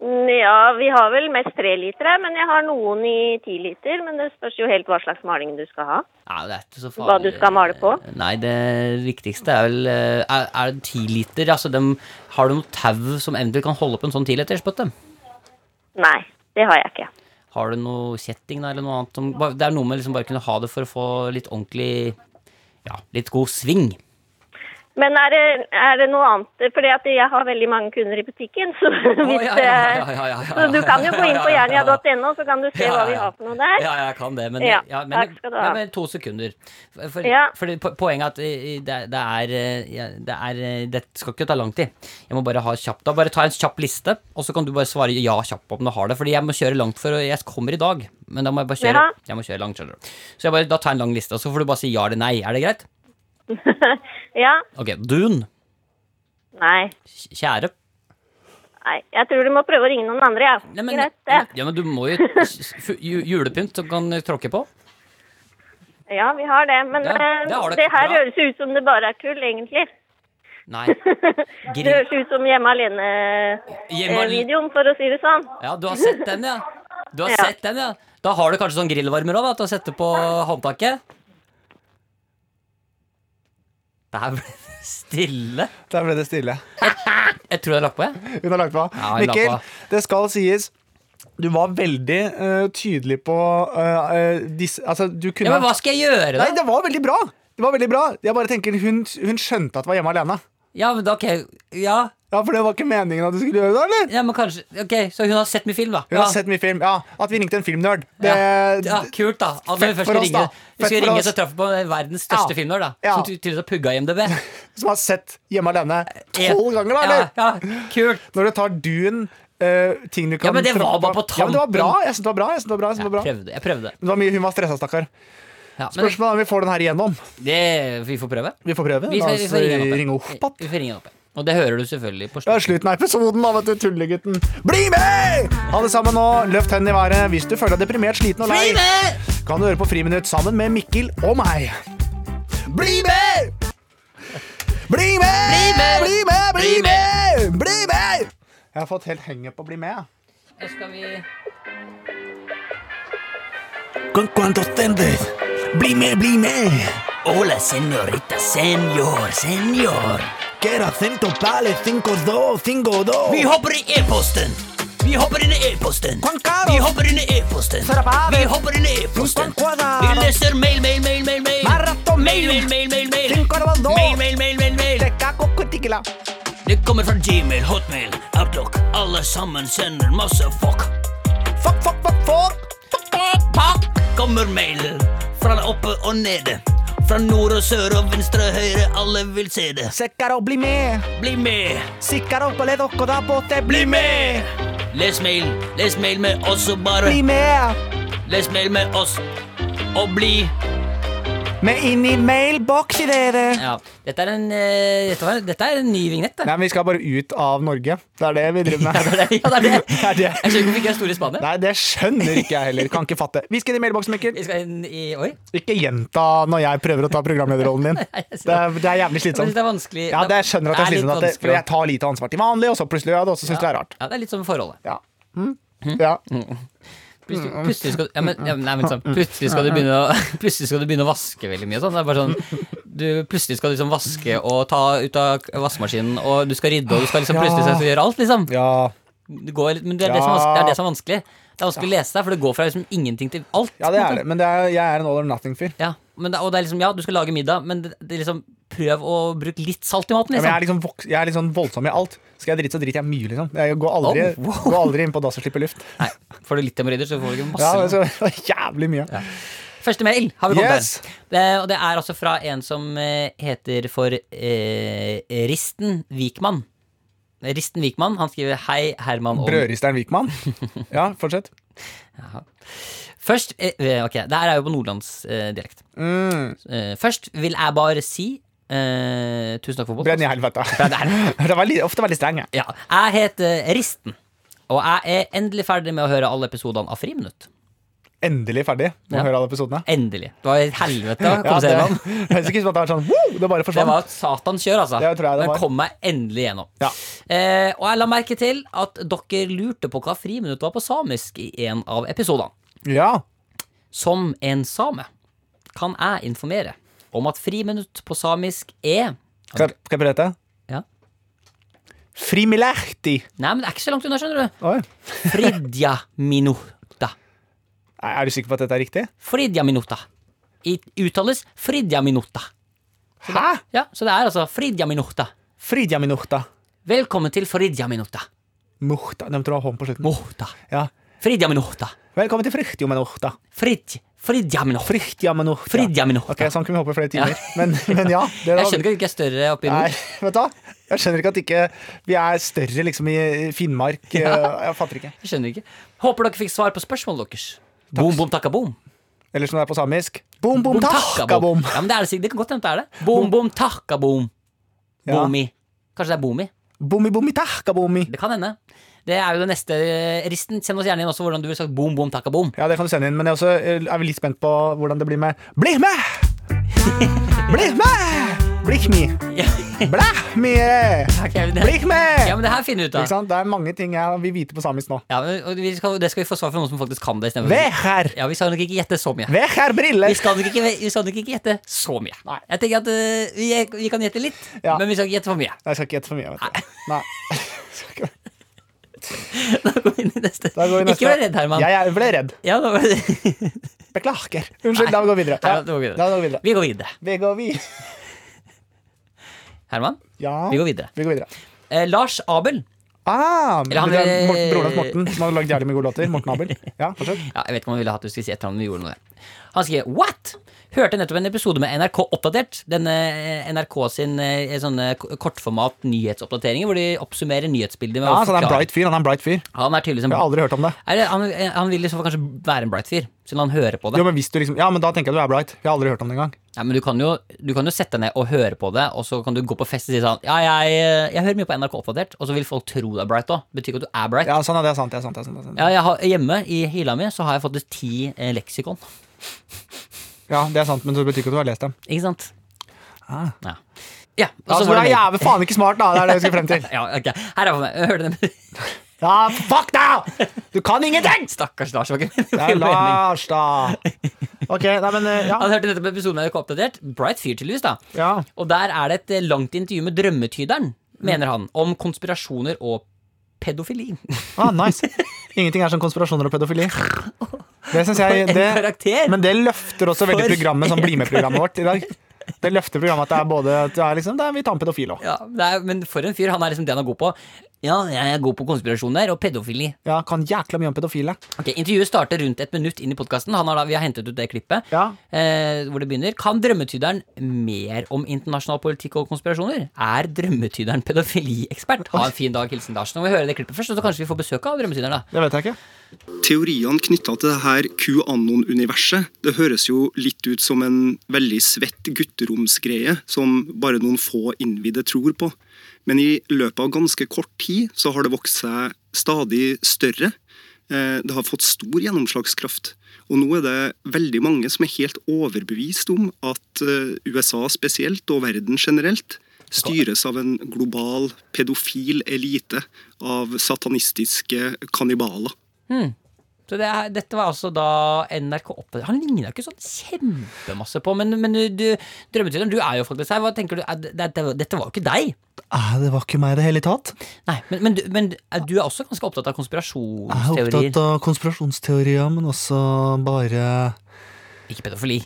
S5: Mm, ja, vi har vel mest trelitere, men jeg har noen i tiliter. Men det spørs jo helt hva slags maling du skal ha.
S3: Nei, det er ikke så farlig.
S5: Hva du skal male på?
S3: Nei, det viktigste er vel eh, Er, er det tiliter? Altså, dem, har du noe tau som eventuelt kan holde opp en sånn tilitersbøtte?
S5: Nei, det har jeg ikke.
S3: Har du noe kjetting da, eller noe annet? Som, bare- det er noe med liksom bare kunne ha det for å få litt ordentlig Ja, litt god sving.
S5: Men er det, er det noe annet? Fordi at jeg har veldig mange kunder i butikken. Så, (laughs) hvis,
S3: ja, ja,
S5: eh,
S3: ja, ja, ja, ja,
S5: så du kan jo gå inn på
S3: (laughs) ja, ja, ja, ja.
S5: jernia.no, så kan du se
S3: Ja,
S5: hva
S3: ja,
S5: vi
S3: ja.
S5: har for noe der.
S3: Ja, jeg kan det, men, ja,
S5: Ja,
S3: men,
S5: takk skal du
S3: ja,
S5: ha.
S3: men to sekunder. For, for,
S5: Ja.
S3: fordi po- poenget er at eh, det, er- det er eh, ja, det, er, eh, det skal ikke ta lang tid. Jeg må bare ha kjapt da. Bare ta en kjapp liste, og så kan du bare svare ja kjapt på om du har det. Fordi jeg må kjøre langt for Jeg kommer i dag, men da må jeg bare kjøre,
S5: Ja.
S3: jeg må kjøre langt. skjønner du. Så jeg bare, da tar jeg en lang liste, og så får du bare si ja eller nei. Er det greit?
S5: (laughs) Ja.
S3: Ok. Dun.
S5: Nei.
S3: Kjære.
S5: Nei. Jeg tror du må prøve å ringe noen andre, ja.
S3: Nei, men,
S5: Greit, det.
S3: ja, men du må jo
S5: (laughs)
S3: s- f- ju- Julepynt som kan tråkke på.
S5: Ja, vi har det. Men
S3: Ja,
S5: eh,
S3: det
S5: det,
S3: har dere.
S5: her
S3: Bra.
S5: høres ut som det bare er tull, egentlig. (laughs)
S3: Nei.
S5: Det
S3: Grill.
S5: høres ut som Hjemme
S3: Hjemme al-
S5: alene-videoen, for å si det sånn.
S3: Ja, du har sett den, ja. Du har
S5: Ja.
S3: sett den, ja. Da har du kanskje sånn grillvarmer òg, til å sette på håndtaket. Det her ble stille.
S2: Der ble det stille.
S3: Jeg tror jeg har lagt på, jeg.
S2: Hun har lagt på.
S3: Ja, hun la
S2: Mikkel,
S3: på.
S2: det skal sies. Du var veldig eh, tydelig på eh, eh, disse Altså, du kunne
S3: Ja, men hva skal jeg gjøre,
S2: Nei,
S3: da?
S2: det var veldig bra! Det var veldig bra. Jeg bare tenker Hun, hun skjønte at du var hjemme alene.
S3: Ja, men da, ok, ja,
S2: Ja, For det var ikke meningen at du skulle gjøre det, eller?
S3: ja, men kanskje Ok, så hun har sett mye film, da.
S2: Hun har sett mye film. Ja, At vi ringte en filmnerd. Det,
S3: ja. ja, Kult, da. At vi
S2: Fett
S3: først
S2: for oss,
S3: ringe,
S2: da.
S3: Vi
S2: Fett
S3: skulle
S2: for
S3: ringe,
S2: oss.
S3: så traff vi på verdens største
S2: Ja.
S3: filmnerd, da.
S2: Ja.
S3: Som ty- tydeligvis har pugga i MDB.
S2: Som har sett Hjemme alene (laughs) tolv ganger, da,
S3: Ja,
S2: eller?
S3: ja, kult.
S2: Når du tar duen eh, ting du kan
S3: Ja, men det var
S2: tråkke
S3: bare på
S2: Ja, men det var
S3: tampen.
S2: bra. Jeg synes det var bra. Jeg synes det var bra, jeg synes det
S3: Jeg
S2: var bra.
S3: prøvde. jeg prøvde
S2: Men Det var mye hun var stressa, stakkar.
S3: ja, men det,
S2: Spørsmålet er om vi får den her igjennom.
S3: det, Vi får prøve.
S2: Vi får prøve.
S3: Vi,
S2: La
S3: får-
S2: oss
S3: vi får ringe
S2: ringe
S3: henne opp.
S2: opp
S3: Vi får ringe henne opp. Og det hører du selvfølgelig på
S2: Det
S3: slutten.
S2: er slutten av episoden, da, vet du, tullegutten. Bli med! Alle sammen nå, løft hendene i været hvis du føler deg deprimert, sliten og lei. Kan du høre på Friminutt sammen med Mikkel og meg. Bli med! Bli med!
S3: Bli med!
S2: Bli med! Bli
S3: Bli
S2: med! Bli med! Jeg har fått helt henget på å bli med.
S3: Da skal vi
S7: Con cuántos tendes. Blime, blime. Hola, señorita, señor, señor. Quiero acento pale 5-2, 5-2.
S6: Vi hopper i e-posten. Vi hopper inn i e-posten.
S7: Caro.
S6: Vi hopper inn i e-posten. Vi hopper inn i e-posten. Vi leser mail, mail, mail, mail, mail.
S7: Maratón.
S6: Mail, mail, mail, mail, mail.
S7: Cinco-dos.
S6: Mail, mail, mail, mail, mail. Det kommer fra Gmail, Hotmail, Outlook. Alle sammen sender masse fuck.
S2: Fuck, fuck, fuck, fuck!
S6: Pakk kommer mailen fra oppe og nede. Fra nord og sør og venstre og høyre, alle vil se det.
S2: Sikker å bli med!
S6: Bli med,
S2: Sikker å bli dere der borte!
S6: bli med! Les mail, les mail med oss og bare
S2: Bli med!
S6: Les mail med oss og bli
S2: Med inn i mailboks i dere!
S3: Ja. Dette er en, eh, dette var, dette er en ny vignett, det.
S2: Nei, men vi skal bare ut av Norge. Det er det vi driver med.
S3: (laughs) Ja, det er det. Ja,
S2: (laughs)
S3: det, er det.
S2: Det er det.
S3: Jeg skjønner ikke hvorfor ikke jeg er stor i Spania.
S2: Nei, det skjønner ikke jeg heller. Kan ikke fatte. Vi skal inn i mailboksen, Mikkel.
S3: Vi skal inn i Oi.
S2: Ikke gjenta når jeg prøver å ta programlederrollen
S3: (laughs)
S2: din.
S3: jeg
S2: Det er, det er jævlig
S3: Jeg synes det
S2: slitsomt.
S3: er vanskelig.
S2: Sånn. Ja, det jeg skjønner at det er
S3: litt
S2: slitsomt, at det,
S3: vanskelig
S2: for
S3: å-
S2: jeg tar lite ansvar til vanlig, og så plutselig gjør jeg det, og så syns du det er rart.
S3: Ja, Mhm. det er litt som forholdet.
S2: Ja. Mm. ja.
S3: Plutselig,
S2: Mm,
S3: plutselig, skal, ja, men, ja, men- nei, men sånn, plutselig, skal du begynne å, (laughs) plutselig skal du begynne å vaske veldig mye. og Sånn. Det er bare sånn du, Plutselig skal du liksom vaske og ta ut av vaskemaskinen, og du skal rydde, og du skal liksom plutselig skal du gjøre alt, liksom.
S2: ja.
S3: Det går, litt- men det er det, som er vanskelig, det er det som er vanskelig. Det er vanskelig å lese deg, for det går fra liksom ingenting til alt.
S2: Ja, det
S3: på en måte.
S2: er det. Men det er, jeg er en all or nothing-fyr.
S3: Ja, men det, og det er liksom, ja, du skal lage middag, men det, det er liksom, prøv å bruke litt salt i maten.
S2: Ja, men jeg er,
S3: Liksom.
S2: liksom voks, jeg er liksom voldsom i alt. Skal jeg drite, så driter jeg mye, liksom. Jeg går aldri,
S3: Oh, wow.
S2: går aldri inn på dass og slipper luft.
S3: Nei, Får du litt hemoroider, så får du ikke
S2: Ja, altså-
S3: masse.
S2: det skal, jævlig mye.
S3: Første mail har vi kommet
S2: Yes!
S3: der. Det, og det er altså fra en som eh, heter for eh, Risten Vikman. Risten Vikman, han skriver Hei, Herman og
S2: Brødristeren
S3: (laughs)
S2: Vikman. Ja, fortsett.
S3: Først, eh, eh, ok, det her er jo på nordlandsdialekt.
S2: Mm.
S3: Eh, først vil jeg bare si eh, Tusen takk for
S2: Brenn i
S3: podkasten.
S2: helvete.
S3: Brenn i helvete.
S2: (laughs) Det var li, ofte veldig streng, jeg.
S3: Ja, jeg heter Risten, og jeg er endelig ferdig med å høre alle episodene av Friminutt.
S2: Endelig ferdig med
S3: Ja.
S2: å høre alle episodene.
S3: Endelig. Det var et
S2: (laughs)
S3: helvete å
S2: Ja,
S3: komme
S2: det
S3: seg gjennom.
S2: høres ikke ut som at det er sånn «Woo!» Det bare
S3: Det
S2: forsvant.
S3: var et satans kjør, altså.
S2: Det tror jeg det
S3: Men
S2: var.
S3: kom meg endelig gjennom.
S2: Ja.
S3: Eh, og jeg la merke til at dere lurte på hva friminutt var på samisk i en av episodene.
S2: Ja.
S3: Som en same kan jeg informere om at friminutt på samisk er
S2: Skal, skal jeg prøve dette?
S3: Ja.
S2: Frimilerti.
S3: Nei, men det er ikke så langt unna, skjønner du.
S2: Oi.
S3: Fridja minuta.
S2: Nei, Er du sikker på at dette er riktig?
S3: Fridja minuta. I, uttales fridja minuta.
S2: Hæ?
S3: Ja, så det er altså fridja minuta.
S2: Fridja minuhta.
S3: Velkommen til fridja minuta.
S2: Muhta. De tror jeg har hånd på slutten.
S3: Mohta.
S2: Ja.
S3: Fridja minuta.
S2: Velkommen til Frichtjo minuhta.
S3: Frid, fridja minuta.
S2: Frichtja minuhta.
S3: Fridja minuta.
S2: Ok, sånn kunne vi hoppe flere
S3: Ja.
S2: timer. Men, men ja. Det
S3: Jeg skjønner ikke at det ikke er større oppi
S2: Nei,
S3: nord.
S2: vet du hva? Jeg skjønner ikke at ikke vi er større liksom i Finnmark. eh, Jeg fatter ikke.
S3: Jeg skjønner ikke. Håper dere fikk svar på spørsmålet deres. Boom, boom, takka, boom.
S2: Eller som det er på samisk. Bom, bom,
S3: takka,
S2: takka, bom.
S3: Ja, men det, er det, sikkert. det kan godt hende det er det. Boom, boom, takka, boom.
S2: Ja.
S3: Boomi. Kanskje det er boomi.
S2: Bommi, bommi, takka, bommi.
S3: Det kan hende. Det er jo det neste eh, risten. Send oss gjerne inn også hvordan du ville sagt boom, boom, takka, boom.
S2: Ja, det kan du sende inn, men jeg er også eh, er vel litt spent på hvordan det blir med Bli med! Bli med! Bli med!
S3: (laughs) Ja,
S2: Bli med!
S3: ok, men det-
S2: Bli med!
S3: Ja, men det her finner vi ut
S2: eh. Ikke
S3: av.
S2: sant? Det er mange ting jeg vil vite på samisk nå.
S3: Ja, men, og vi skal, det skal vi få svar fra noen som faktisk kan det. i stedet for-
S2: Vær
S3: Ja, vi skal nok ikke gjette så mye.
S2: her
S3: Vi
S2: briller!
S3: skal nok ikke, vi skal nok ikke gjette så mye. Jeg tenker at eh, vi, vi kan gjette litt,
S2: Ja.
S3: men vi skal ikke gjette for mye. (laughs)
S2: Nei, Jeg skal ikke gjette for mye, vet du. Nei. (laughs) Skal ikke-
S3: Da går vi inn i neste.
S2: Da går vi neste.
S3: Ikke vær redd, Herman.
S2: Jeg, jeg ble redd.
S3: Ja, da var det
S2: Beklager. Unnskyld, la meg gå videre.
S3: Nei,
S2: Ja,
S3: nå går vi videre.
S2: la meg gå videre.
S3: (laughs) Vi går videre.
S2: Vi går vi.
S3: Herman,
S2: Ja.
S3: vi går videre.
S2: Vi går videre.
S3: Eh, Lars Abel.
S2: Ah,
S3: Eller han-
S2: broren hans Morten, Morten, som har lagd jævlig mye gode låter. Morten Abel. Ja, fortsett.
S3: Ja, jeg vet ikke om han ville hatt du skulle si et eller annet, men vi gjorde noe. der. Han skriver What? Hørte nettopp en episode med NRK Oppdatert. Denne eh, NRK sin eh, sånne k- kortformat nyhetsoppdateringer hvor de oppsummerer nyhetsbildet. Med
S2: Ja,
S3: å
S2: så han er en
S3: forklare.
S2: bright fyr. Han er en bright fyr.
S3: Han er tydeligvis en
S2: Jeg har aldri hørt om det.
S3: Er det- han, eh, han vil i så fall kanskje være en bright fyr, siden han hører på det.
S2: Jo, men hvis du liksom, ja, men da tenker jeg at du er bright. Jeg har aldri hørt om det engang.
S3: Nei, men du kan, jo, du kan jo sette deg ned og høre på det, og så kan du gå på fest og si sånn Ja, jeg, eh, jeg hører mye på NRK Oppdatert, og så vil folk tro du er bright òg. Betyr ikke at du er bright.
S2: Ja, sånn er det, det er sant. Det er sant, det er sant, det er sant.
S3: Ja, jeg har, hjemme i hylla mi så har jeg fått et ti eh, leksikon.
S2: Ja, det er sant, men det betyr ikke at du har lest dem.
S3: Ikke sant?
S2: Ah.
S3: Ja. ja og
S2: Ja,
S3: så
S2: så du
S3: var
S2: er
S3: det meg.
S2: jævlig faen ikke smart, da. Det er det jeg skal frem
S3: (laughs)
S2: til.
S3: Ja, ok. Her er for meg. Hør du (laughs) det?
S2: Ja, fuck deg! Du kan ingenting!
S3: Stakkars Lars. Det var ikke
S2: Det er
S3: min mening.
S2: Lars, da. Ok, nei, men eh, ja.
S3: Han hørte nettopp episoden av NRK Oppdatert. Bright fyr, tydeligvis. da
S2: ja.
S3: Og der er det et eh, langt intervju med drømmetyderen,
S2: Mm.
S3: mener han, om konspirasjoner og pedofili. (laughs)
S2: Ah, nice. Ingenting er som konspirasjoner og pedofili. Det synes jeg
S3: En
S2: det,
S3: karakter!
S2: Men det løfter også veldig
S3: For
S2: programmet som blir med-programmet vårt i dag. Det løfter programmet at det er både at det er liksom, det er, Vi tar med pedofil òg.
S3: Ja, det er, men for en fyr. Han er liksom det han er god på. Ja, jeg er god på konspirasjoner og pedofili.
S2: Ja, kan jækla mye om pedofile.
S3: Ok, Intervjuet starter rundt et minutt inn i podkasten. Vi har hentet ut det klippet.
S2: Ja.
S3: Eh, hvor det begynner Kan drømmetyderen mer om internasjonal politikk og konspirasjoner? Er drømmetyderen pedofiliekspert? Ha en fin dag, hilsen Lars. Nå må vi høre det klippet først, og så kanskje vi får besøk av drømmetyderen. da
S2: Det vet jeg ikke.
S8: Teoriene knytta til det her QAnon-universet, det høres jo litt ut som en veldig svett gutteromsgreie som bare noen få innvidde tror på. Men i løpet av ganske kort tid så har det vokst seg stadig større. Eh, Det har fått stor gjennomslagskraft. Og nå er det veldig mange som er helt overbevist om at eh, USA spesielt, og verden generelt, styres av en global pedofil elite av satanistiske kannibaler.
S3: Så det er, dette var altså da NRK oppe Han ligna ikke sånn kjempemasse på, men, men du, drømmetyderen, du er jo faktisk her. Hva tenker du? Er det, det, dette var jo ikke deg.
S2: Ah, det var ikke meg i det hele tatt.
S3: Nei, men, men, du, men er- du er også ganske opptatt av konspirasjonsteorier.
S2: av konspirasjonsteorier, men også bare
S3: Ikke pedofili.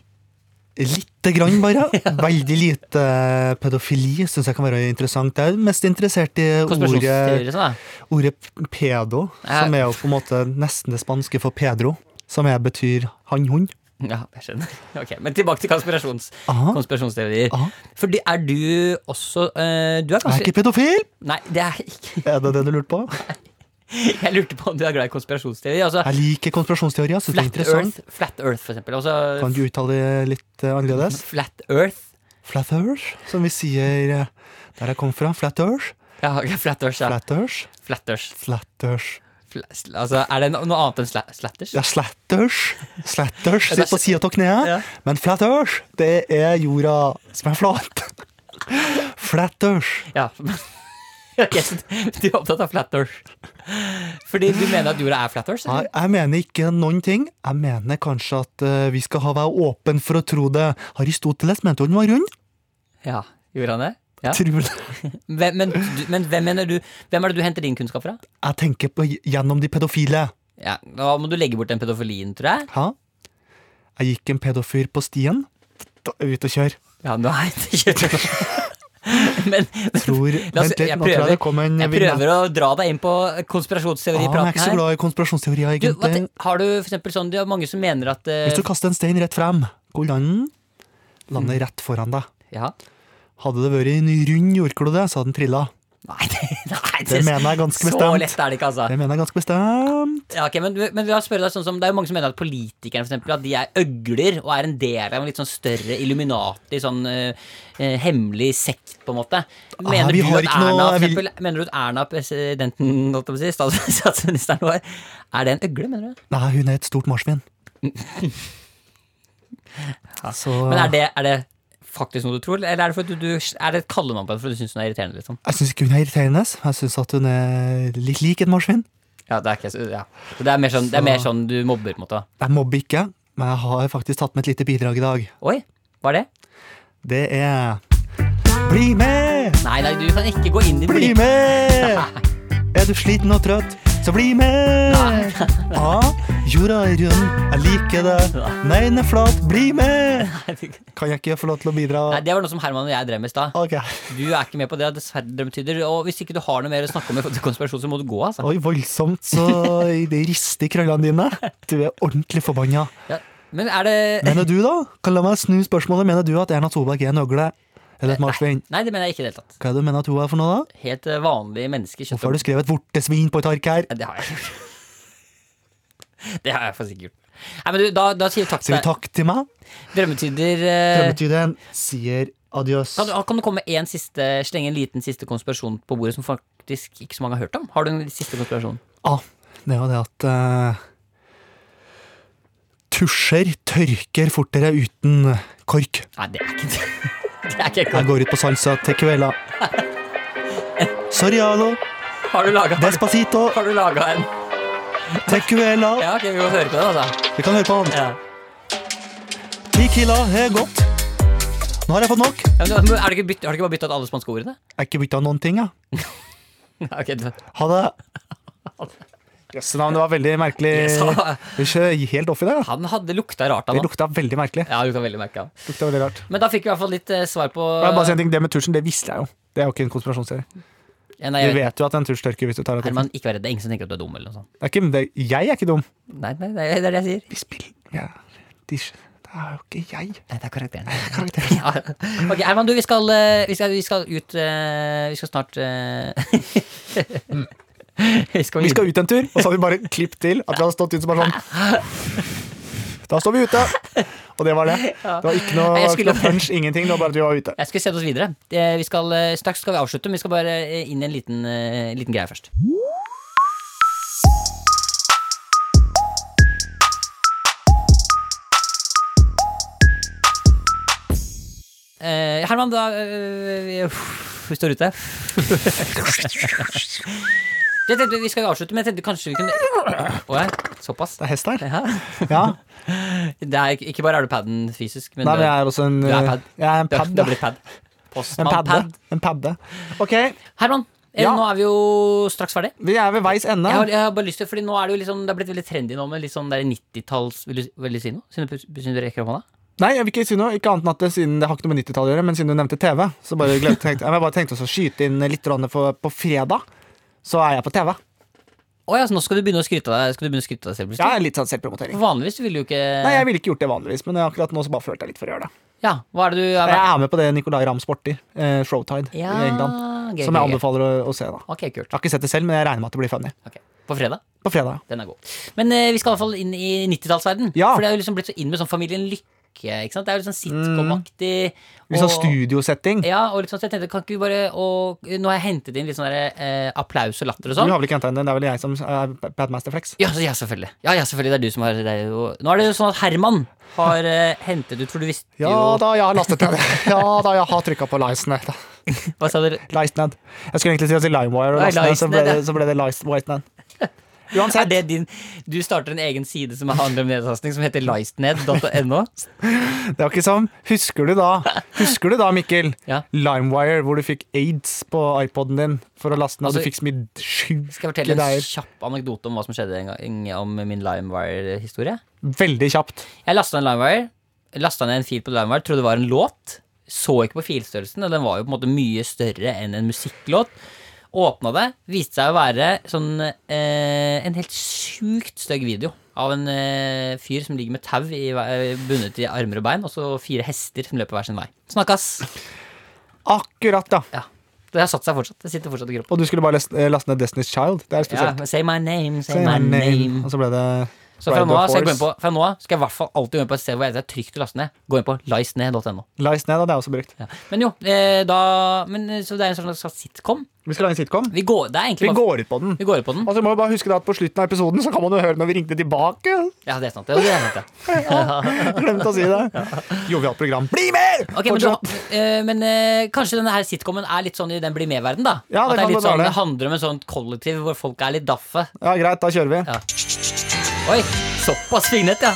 S2: Lite grann,
S3: (laughs)
S2: bare. Veldig lite pedofili syns jeg kan være interessant. Jeg er mest interessert i
S3: Konspirasjonsteorier og sånn, da.
S2: Ordet pedo,
S3: Ja.
S2: som er jo på en måte nesten det spanske for Pedro, som jeg betyr han-hund.
S3: Ja, jeg skjønner. (laughs) Ok, Men tilbake til konspirasjons,
S2: Aha.
S3: konspirasjonsteorier.
S2: Aha.
S3: For det- er du også eh, Du
S2: Jeg
S3: er
S2: er
S3: kanskje
S2: ikke pedofil!
S3: Nei, det er ikke (laughs)
S2: Er det det du lurte på?
S3: Jeg lurte på om du er glad i konspirasjonsteorier. Altså,
S2: Jeg liker konspirasjonsteorier. Synes det er
S3: flat,
S2: interessant.
S3: Earth, flat Earth, for eksempel. Altså,
S2: Kan du uttale det litt eh, annerledes?
S3: Flat Earth.
S2: Flat Earth, som vi sier eh, der jeg kom fra. Flat Earth.
S3: Ja, ok, flat Earth, ja.
S2: Flat Earth.
S3: Flat Earth.
S2: Flat Earth.
S3: Fla- sl- Altså, er det no- noe annet enn sla slatters?
S2: Ja, Slatters. Slatters sitter på sida av
S3: Ja.
S2: kneet. Men Flat Earth, det er jorda som er flat. Flat Earth.
S3: Ja. (laughs) Ok, så du er opptatt av flat Earth. Fordi du mener at jorda er flat Earth?
S2: Nei,
S3: Eller?
S2: jeg mener ikke noen ting. Jeg mener kanskje at eh, vi skal ha være åpen for å tro det. Aristoteles mente jo den var rund.
S3: Ja. Gjorde han det? Ja.
S2: Tror det.
S3: Hvem, men, du- men hvem mener du Hvem er det du henter din kunnskap fra?
S2: Jeg tenker på gjennom de pedofile.
S3: Ja, Da må du legge bort den pedofilien, tror jeg.
S2: Hæ? Jeg gikk en pedofyr på stien. Da, ut og kjør.
S3: Ja, nå er jeg
S2: (laughs)
S3: ikke Men
S2: Tror,
S3: la oss-
S2: vent litt, nå tror jeg det kom en
S3: jeg prøver å dra deg inn på konspirasjonsteori
S2: Ah,
S3: i
S2: men jeg er
S3: praten
S2: ikke så
S3: her.
S2: glad i konspirasjonsteorier,
S3: Du, hva,
S2: egentlig.
S3: te- har du for eksempel sånn Det er mange som mener at eh,
S2: Hvis du kaster en stein rett frem, hvor lander den? Lander
S3: Mm.
S2: rett foran deg.
S3: Ja.
S2: Hadde det vært en rund jordklode, så hadde den trilla.
S3: Nei, det, nei,
S2: Det mener jeg ganske
S3: Så
S2: bestemt.
S3: lett er det ikke, altså.
S2: Det mener jeg ganske bestemt.
S3: Ja, ok, men, men la oss spørre deg sånn som Det er jo mange som mener at politikerne for eksempel, At de er øgler og er en del av en litt sånn større Illuminati, sånn eh, eh, hemmelig sekt, på en måte. Mener,
S2: Ah, vi
S3: du,
S2: har
S3: at
S2: ikke noe-
S3: Erna, for
S2: jeg vil-
S3: eksempel, mener du at Erna, presidenten, holdt jeg på å si, stats- (laughs) statsministeren vår, er det en øgle, mener du?
S2: Nei, hun er et stort
S3: (laughs)
S2: marsvin. Så
S3: Men er det, er det faktisk noe du tror, eller er det, fordi du, du, er det et kallenavn på henne fordi du syns hun er irriterende? liksom?
S2: Jeg syns ikke hun er irriterende. Jeg syns at hun er litt lik et marsvin.
S3: Ja, Det er ikke, så- ja. Så det er mer sånn, det er mer
S2: Så-
S3: sånn du mobber, på en måte?
S2: Jeg mobber ikke, men jeg har faktisk tatt med et lite bidrag i dag.
S3: Oi, hva er det?
S2: Det er Bli med!
S3: Nei, nei, du kan ikke gå inn i
S2: Bli med! Er du sliten og trøtt, så bli med! Ja, Jorda er rund, jeg liker det. Nei, den er flat, bli med!
S3: (laughs)
S2: Kan jeg ikke få lov til å bidra?
S3: Nei, Det var noe som Herman og jeg drev med i stad. Du er ikke med på det, dessverre, drømtyder. Og hvis ikke du har noe mer å snakke om, i forhold til konspirasjon, så må du gå. altså
S2: Oi, voldsomt, så det rister i krøllene dine. Du er ordentlig forbanna.
S3: ja. Men er det
S2: Mener du, da? Kan la meg snu spørsmålet. Mener du at Erna Solberg er en øgle? Eller et marsvin?
S3: Nei, det mener jeg ikke i det hele tatt.
S2: Hva er det du mener at hun er for noe, da?
S3: Helt eh, vanlig menneske. kjøtt og
S2: Hvorfor har du skrevet 'vortesvin' på et ark her?
S3: Ja, Det har jeg gjort. (laughs) Det har jeg faktisk gjort. Nei, men du, da, da sier vi takk til
S2: Sier du
S3: deg.
S2: takk til meg?
S3: Drømmetyder. eh,
S2: Drømmetyderen sier adjøs.
S3: Kan du, kan du komme med en siste, slenge en liten siste konspirasjon på bordet som faktisk ikke så mange har hørt om? Har du en siste konspirasjon?
S2: Ah, det var det at eh, Tusjer tørker fortere uten kork.
S3: Nei, det er ikke det. (laughs) er ikke
S2: Jeg går ut på salsa til kvelda. Sorry, alo.
S3: Har du laga
S2: Despacito
S3: Har du laga en?
S2: til kvelda.
S3: Ja, ok, vi må høre på den, altså.
S2: Vi kan høre på han.
S3: Ja.
S2: Tequila er godt. Nå har jeg fått nok. Jeg
S3: Ja, men, er det ikke bytt, har du ikke bare bytta ut alle spanske ordene?
S2: har ikke bytta noen ting, jeg.
S3: Ja, (laughs) ok, du-
S2: Ha (laughs) det. Jøsse navn, det var veldig merkelig.
S3: Yes, ha.
S2: Ikke helt off i det. da.
S3: han hadde lukta rart, han
S2: Det
S3: da.
S2: lukta veldig merkelig.
S3: Ja, lukta veldig merka.
S2: Lukta veldig rart.
S3: Men da fikk vi i hvert fall litt eh, svar på
S2: Jeg vil bare si en ting, Det med tusjen, det visste jeg jo. Det er jo ikke en konspirasjonsserie.
S3: Ja, nei,
S2: Du
S3: jeg-
S2: vet jo at en tusj tørker hvis du tar av telefonen.
S3: Herman, ikke vær redd. Det er ingen som tenker at du er dum. eller noe sånt
S2: Det er ikke, det, jeg er ikke dum.
S3: Nei, nei, nei, det er det jeg sier.
S2: Vi spiller ja, de, Det er jo ikke jeg.
S3: Nei, det er karakteren. (laughs) ja. Ok, Herman, du, vi skal, eh, vi skal, vi skal ut eh, Vi skal snart eh, (laughs) vi, skal
S2: Vi skal ut en tur, og så hadde vi bare klipp til at vi hadde stått ute som
S3: (laughs)
S2: bare sånn. Da står vi ute. Og det var det. Det var ikke noe,
S3: Nei, jeg
S2: ikke
S3: skulle-
S2: noe punch, ingenting. Det var bare at vi var ute.
S3: Jeg skal sende oss videre. Eh, Vi skal, eh, straks skal vi avslutte, men vi skal bare eh, inn i en liten, eh, liten greie først. Eh, Herman, da eh, vi- Vi står ute. (laughs) Jeg tenkte Vi skal avslutte, men jeg tenkte kanskje vi kunne Å, ja, Såpass?
S2: Det er hest her.
S3: Ja.
S2: Ja.
S3: Det er, ikke- ikke bare er du paden fysisk, men
S2: Nei,
S3: du-
S2: men jeg er også en eh,
S3: Du er pad.
S2: Jeg er en
S3: du er-
S2: pad.
S3: du
S2: da.
S3: er blitt pad.
S2: En
S3: Postmann-pad.
S2: padde. En padde. Ok,
S3: Herman, eh,
S2: Ja.
S3: nå er vi jo straks ferdig.
S2: vi er ved veis ende.
S3: Jeg har, jeg har bare lyst til, fordi nå er Det jo liksom, det har blitt veldig trendy nå med litt sånn der 90-talls Vil, du- vil du si noe? Siden du, siden du rekker opp hånda?
S2: Nei, jeg vil ikke si noe, ikke annet enn at det, siden det har ikke noe med 90-tallet å gjøre, men siden du nevnte TV, så bare glemte, tenkte, jeg bare tenkte også å skyte inn litt grann for, på fredag. Så er jeg på TV.
S3: Å ja, så nå skal du begynne å skryte av deg, skal du begynne å skryte av deg selv?
S2: Ja,
S3: plutselig?
S2: litt sånn selvpromotering.
S3: For Vanligvis ville du ikke
S2: Nei, jeg ville ikke gjort det vanligvis, men akkurat nå så bare følte jeg litt for å gjøre det.
S3: Ja, hva er det du er,
S2: Jeg er med på det Nicolay Ramm sporter, eh, Showtide
S3: Ja,
S2: i England,
S3: gøy,
S2: som
S3: gøy,
S2: jeg
S3: gøy.
S2: anbefaler å, å se. da Jeg
S3: Ok, kult.
S2: har ikke sett det selv, men jeg regner med at det blir funny.
S3: Ok, På fredag?
S2: På fredag.
S3: Den er god. Men eh, vi skal i hvert fall inn i 90-tallsverden.
S2: Ja. Mm.
S3: For det er jo liksom blitt så inn med sånn Familien Lykke. Ikke sant? Det er jo litt sånn sitcom-aktig.
S2: Litt sånn
S3: og-
S2: studiosetting.
S3: Ja, og litt sånn, så jeg tenkte, kan ikke vi bare og, Nå har jeg hentet inn litt sånn der, eh, applaus og latter og
S2: Du
S3: sånn.
S2: har vel ikke hentet inn den, det er vel jeg som er Badmaster Flex.
S3: Ja, så- ja, selvfølgelig. Ja, ja, selvfølgelig. Det er du som har det er jo. Nå er det jo sånn at Herman har eh, hentet ut, for du visste
S2: Ja
S3: jo
S2: da, jeg har lastet ned. (laughs) Ja da, jeg har trykka på Licened.
S3: Hva sa du?
S2: Licened. Jeg skulle egentlig si å si LimeWire, og
S3: Nei,
S2: lastet ned, så ble
S3: Licened,
S2: det,
S3: ja.
S2: så ble det Licened.
S3: (laughs) Er det din Du starter en egen side som handler om nedtastning, som heter lightned.no.
S2: Det var ikke sånn. Husker du da, husker du da Mikkel,
S3: Ja.
S2: LimeWire, hvor du fikk aids på iPoden din for å laste ned?
S3: Altså,
S2: du fikk så mye sjuke
S3: Skal jeg fortelle en
S2: greier.
S3: kjapp anekdote om hva som skjedde en gang om min LimeWire-historie?
S2: Veldig kjapt.
S3: Jeg lasta ned LimeWire. Lasta ned en fil på LimeWire, trodde det var en låt. Så ikke på filstørrelsen, og den var jo på en måte mye større enn en musikklåt. Åpna det, viste seg å være sånn eh, en helt sjukt stygg video av en eh, fyr som ligger med tau i, ve- bundet i armer og bein, og så fire hester som løper hver sin vei. Snakkes!
S2: Akkurat, da.
S3: Ja. Det har satt seg fortsatt. Det sitter fortsatt i kroppen.
S2: Og du skulle bare lest- eh, laste ned Destiny's Child. Det er
S3: Ja,
S2: spesielt.
S3: men say my name, say,
S2: Say
S3: my name.
S2: Og så ble det
S3: Så fra
S2: Ride
S3: nå
S2: the
S3: av skal jeg gå inn
S2: Horse.
S3: på, fra nå av skal jeg i hvert fall alltid gå inn på et sted hvor jeg- det er trygt å laste ned. Gå inn på licened.no.
S2: Lies ned, da. Det er også brukt.
S3: Ja. Men jo, eh, da men, eh, Så det er en sånn slags sitcom.
S2: Vi skal lage en sitcom.
S3: Vi går, det er
S2: Vi
S3: egentlig bare,
S2: går ut på den.
S3: vi går ut på den.
S2: Og så Altså, må vi bare huske da at på slutten av episoden så kan man jo høre når vi ringte tilbake.
S3: Ja, det er sant. Det det er sant ja.
S2: Glemte å si det. Jovialt program. Bli med!
S3: Ok, men,
S2: Fortsatt.
S3: du, eh, men eh, kanskje denne her sitcomen er litt sånn i den blir med-verden, da?
S2: Ja, det kan
S3: At det, er litt
S2: godt være
S3: sånn,
S2: det.
S3: det handler om en sånn kollektiv hvor folk er litt daffe.
S2: Ja, greit, da kjører vi.
S3: Ja. Oi, såpass fingnet, ja.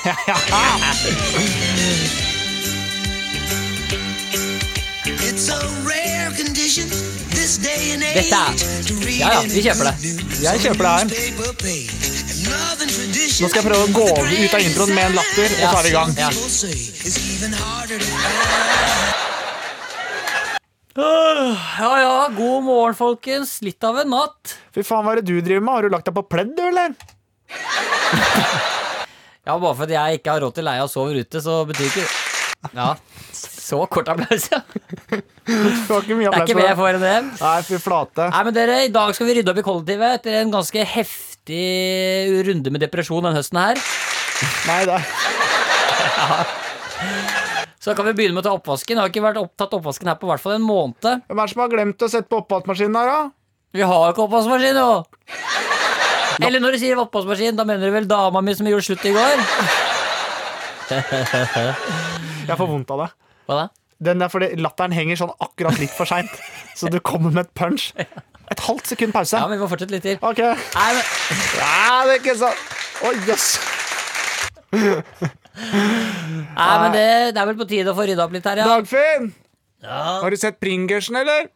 S6: It's a rare condition this day and age
S3: Dette er-
S6: to read
S3: Ja, ja, vi
S6: any
S3: kjøper det.
S6: good news
S2: Jeg kjøper det her.
S6: paper page. And
S2: Nå skal jeg prøve å gå over- ut av introen med en latter, og så er vi i gang.
S3: Ja. Ja ja, god morgen, folkens. Litt av en natt.
S2: Fy faen, hva er det du driver med? Har du lagt deg på pledd, du, eller?
S3: Ja, Bare fordi jeg ikke har råd til leie og sover ute, så betyr ikke Ja, så kort applaus,
S2: (laughs)
S3: ja.
S2: Det var ikke mye
S3: Det er
S2: applaus
S3: ikke
S2: for
S3: mer
S2: det.
S3: for enn det.
S2: Nei, fy flate.
S3: Nei, men dere, I dag skal vi rydde opp i kollektivet etter en ganske heftig runde med depresjon den høsten her.
S2: Nei, det er
S3: Så da kan vi begynne med å ta oppvasken. Jeg har ikke vært opptatt oppvasken her på hvert fall en måned.
S2: Hvem er det som har glemt å sette på oppvaskmaskinen her, da?
S3: Vi har jo ikke oppvaskmaskin, jo! Eller når du sier oppvaskmaskin, da mener du vel dama mi som gjorde slutt i går?
S2: Jeg får vondt av det.
S3: Hva da?
S2: Den er fordi Latteren henger sånn akkurat litt for seint, så du kommer med et punch. Et halvt sekund pause.
S3: Ja, men vi må fortsette litt til.
S2: Ok. Nei,
S3: Nei, men
S2: det er ikke sånn. Å, jøss.
S3: Nei, men det, det er vel på tide å få rydda opp litt her, ja.
S2: Dagfinn! Har du sett Pringersen, eller?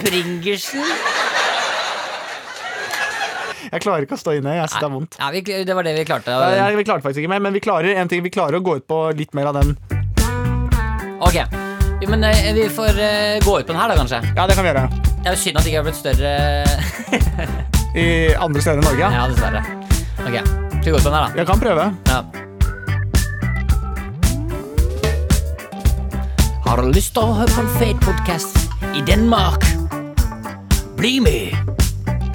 S3: Pringersen.
S2: Jeg klarer ikke å stå inne. Jeg synes det er vondt.
S3: Ja, vi, det var det vi klarte.
S2: Nei, jeg- Vi klarer det faktisk ikke mer, men vi klarer en ting Vi klarer å gå ut på litt mer av den.
S3: Ok. Jo, Men eh, vi får eh, gå ut på den her, da, kanskje.
S2: Ja, det kan vi gjøre.
S3: Det er jo synd at det ikke har blitt
S2: (laughs)
S3: større
S2: I andre steder i Norge. ja.
S3: Ja, dessverre. Ok. Skal vi gå ut på den her, da?
S2: Jeg kan prøve.
S3: Ja. Har du lyst til å høre på en fet podkast i Danmark? Bli med!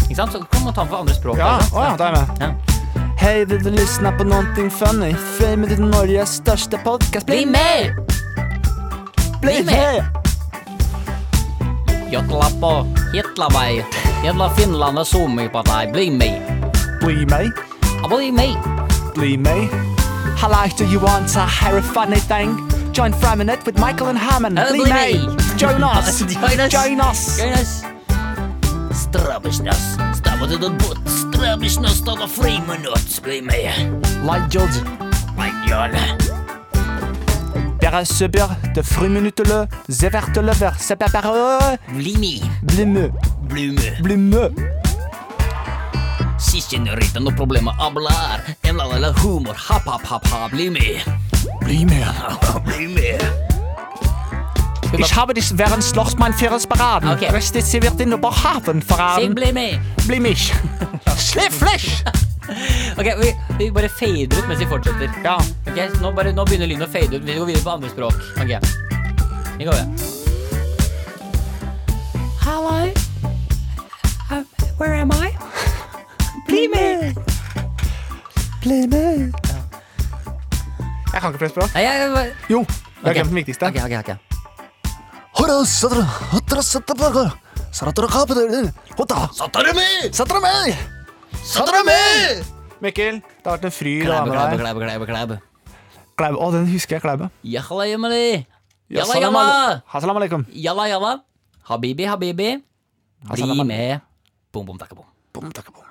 S3: Ikke sant? Så kan man ta den på andre språk.
S2: Ja,
S3: da, ikke sant?
S2: å, ja, da er jeg med.
S3: Ja.
S2: Hei, vil du lyssna på någonting funny? Fame till Norges största podcast.
S3: Bli med! bli med! Jotla på Hitlabei. Jotla Finland og Suomi på deg. Bli med!
S2: Bli med.
S3: Ja, Bli med!
S2: Bli med. Hello, do you want to hear a funny thing? Join Framinette with Michael and Hammond.
S3: Ja, bli med.
S2: Join us.
S3: (laughs) Join us.
S2: Join us.
S3: Jonas! Strabbesnass. Stabba til den bot. Strabbesnass tar da friminutt. Bli med!
S2: Like George.
S3: Bli med!
S2: Dere subber de friminuttele, zeverte lever, sepapere,
S3: Bli med!
S2: blimme,
S3: Bli med!
S2: blimme.
S3: Siste nytt, noe problem med ablar. En eller annen humor. Happ, happ, happ, happ. Bli med!
S2: Bli med.
S3: Bli med!
S2: Ich habe dich während Schlossmann Fähres beraten.
S3: Okay.
S2: Richtig, sie wird in Oberhafen verraten.
S3: Sing bli med!
S2: Bli (laughs) mich. Schlifflich.
S3: (laughs) Ok, vi, vi bare fader ut mens vi fortsetter.
S2: Ja.
S3: Ok, så nå, bare, nå begynner lyden å fade ut. Vi går videre på andre språk. Ok, vi går videre. Hello. Uh, where am I? Bli med!
S2: Jeg kan ikke flest språk.
S3: Nei, jeg bare...
S2: Jo, jeg har
S3: Ok.
S2: glemt den viktigste.
S3: Ok, ok, ok.
S9: Hora, satra, hatra, satra, plaka. Satra, kape, dere. Hota. Satra mi! Satra mi! Satra mi!
S2: Mikkel, det har vært en Oh, fryd å være
S3: Klæbe,
S2: med deg.
S3: klæbe, klæbe, klæbe, klæbe.
S2: Klæbe. Å, den husker jeg, Klæbe.
S3: Jalla, jammali. Jalla,
S2: Salam
S3: jalla.
S2: ale- Hassalam alaikum.
S3: Jalla, jalla. Habibi, habibi. Bli med. Bom, bom, takka, bom.
S9: Bom, takk, bom.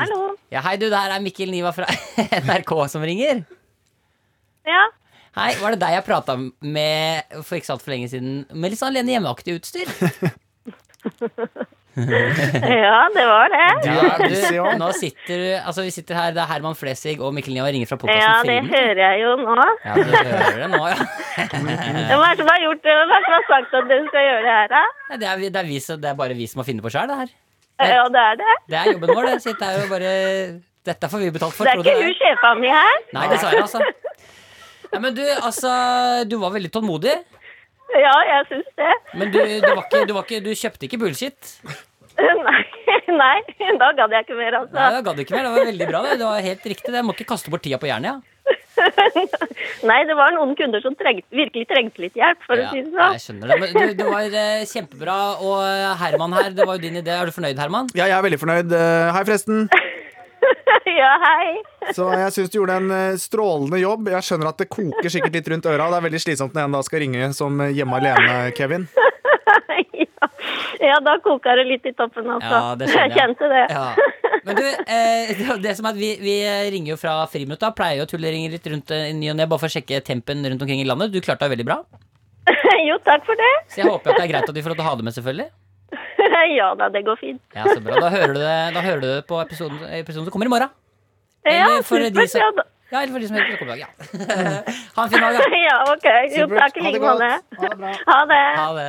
S5: Hallo.
S3: Ja, hei du, det her er Mikkel Niva fra (laughs) NRK som ringer.
S5: Ja.
S3: Hei, var det deg jeg prata med for ikke så altfor lenge siden? Med litt sånn Lene Hjemmeaktig utstyr.
S5: ja, det var det.
S3: (laughs) Ja, du,
S2: busy, ja.
S3: nå sitter du Altså, vi sitter her, det er Herman Flesvig og Mikkel Niva ringer fra
S5: Ja,
S3: podkasten
S5: det
S3: Filmen.
S5: hører jeg jo nå.
S3: Ja, du hører det nå, ja. (laughs)
S5: Hvem er det som har gjort det? Hvem er det som har sagt at dere skal gjøre det her, da?
S3: Nei, Det er, vi- det er, vi, som- det er bare vi som har funnet på sjøl, det her.
S5: Ja, det er det.
S3: Det er jobben vår, det. Sitt, det er jo bare Dette får vi betalt for,
S5: Det er
S3: tror
S5: ikke
S3: du
S5: hun sjefa mi her.
S3: Nei, dessverre, altså. Nei, men du, altså Du var veldig tålmodig.
S5: Ja, jeg syns det.
S3: Men du, du, var ikke, du, var ikke, du kjøpte ikke bullshit.
S5: (laughs) Nei, nei, da gadd jeg ikke mer,
S3: Nei,
S5: altså.
S3: jeg gadd ikke mer. Det var veldig bra. Det, det var helt riktig. Det. Jeg må ikke kaste bort tida på jernet. Ja.
S5: (laughs) Nei, det var noen kunder som trengte, virkelig trengte litt hjelp, for å si det
S3: Ja, jeg
S5: sånn.
S3: skjønner det. Men du, det var eh, kjempebra. Og eh, Herman her, det var jo din idé. Er du fornøyd, Herman?
S2: Ja, jeg er veldig fornøyd. Eh, Hei, forresten.
S5: (laughs) Ja, hei.
S2: Så jeg syns du gjorde en eh, strålende jobb. Jeg skjønner at det koker sikkert litt rundt øra. Det er veldig slitsomt når en da skal ringe som eh, hjemme alene, Kevin.
S5: Ja, ja da koka det litt i toppen, altså. (laughs)
S3: Ja, det skjønner jeg.
S5: kjente det.
S3: Ja. Men du, eh, det, det som er at vi, vi ringer jo fra friminutta. Pleier jo å tulleringe litt rundt eh, i ny og ne, bare for å sjekke tempen rundt omkring i landet. Du klarte deg veldig bra.
S5: jo, takk for det. (laughs)
S3: Så jeg håper at det er greit at vi får lov til å ha det med, selvfølgelig.
S5: ja da, det går fint.
S3: Ja, så bra. Da hører du det, da hører du det på episoden, episoden som kommer i morgen.
S5: Ja,
S3: Eller for de
S5: supert.
S3: som-
S5: Ja, da.
S3: Ja, (laughs) eller for de som hører på kommer i dag. Ja. Ha en fin dag, da.
S5: (laughs) ja, ok. Jo,
S1: Supert.
S5: takk i
S1: Ha det
S5: like måte.
S1: godt.
S5: Ha det bra. Ha det.
S3: Ha det.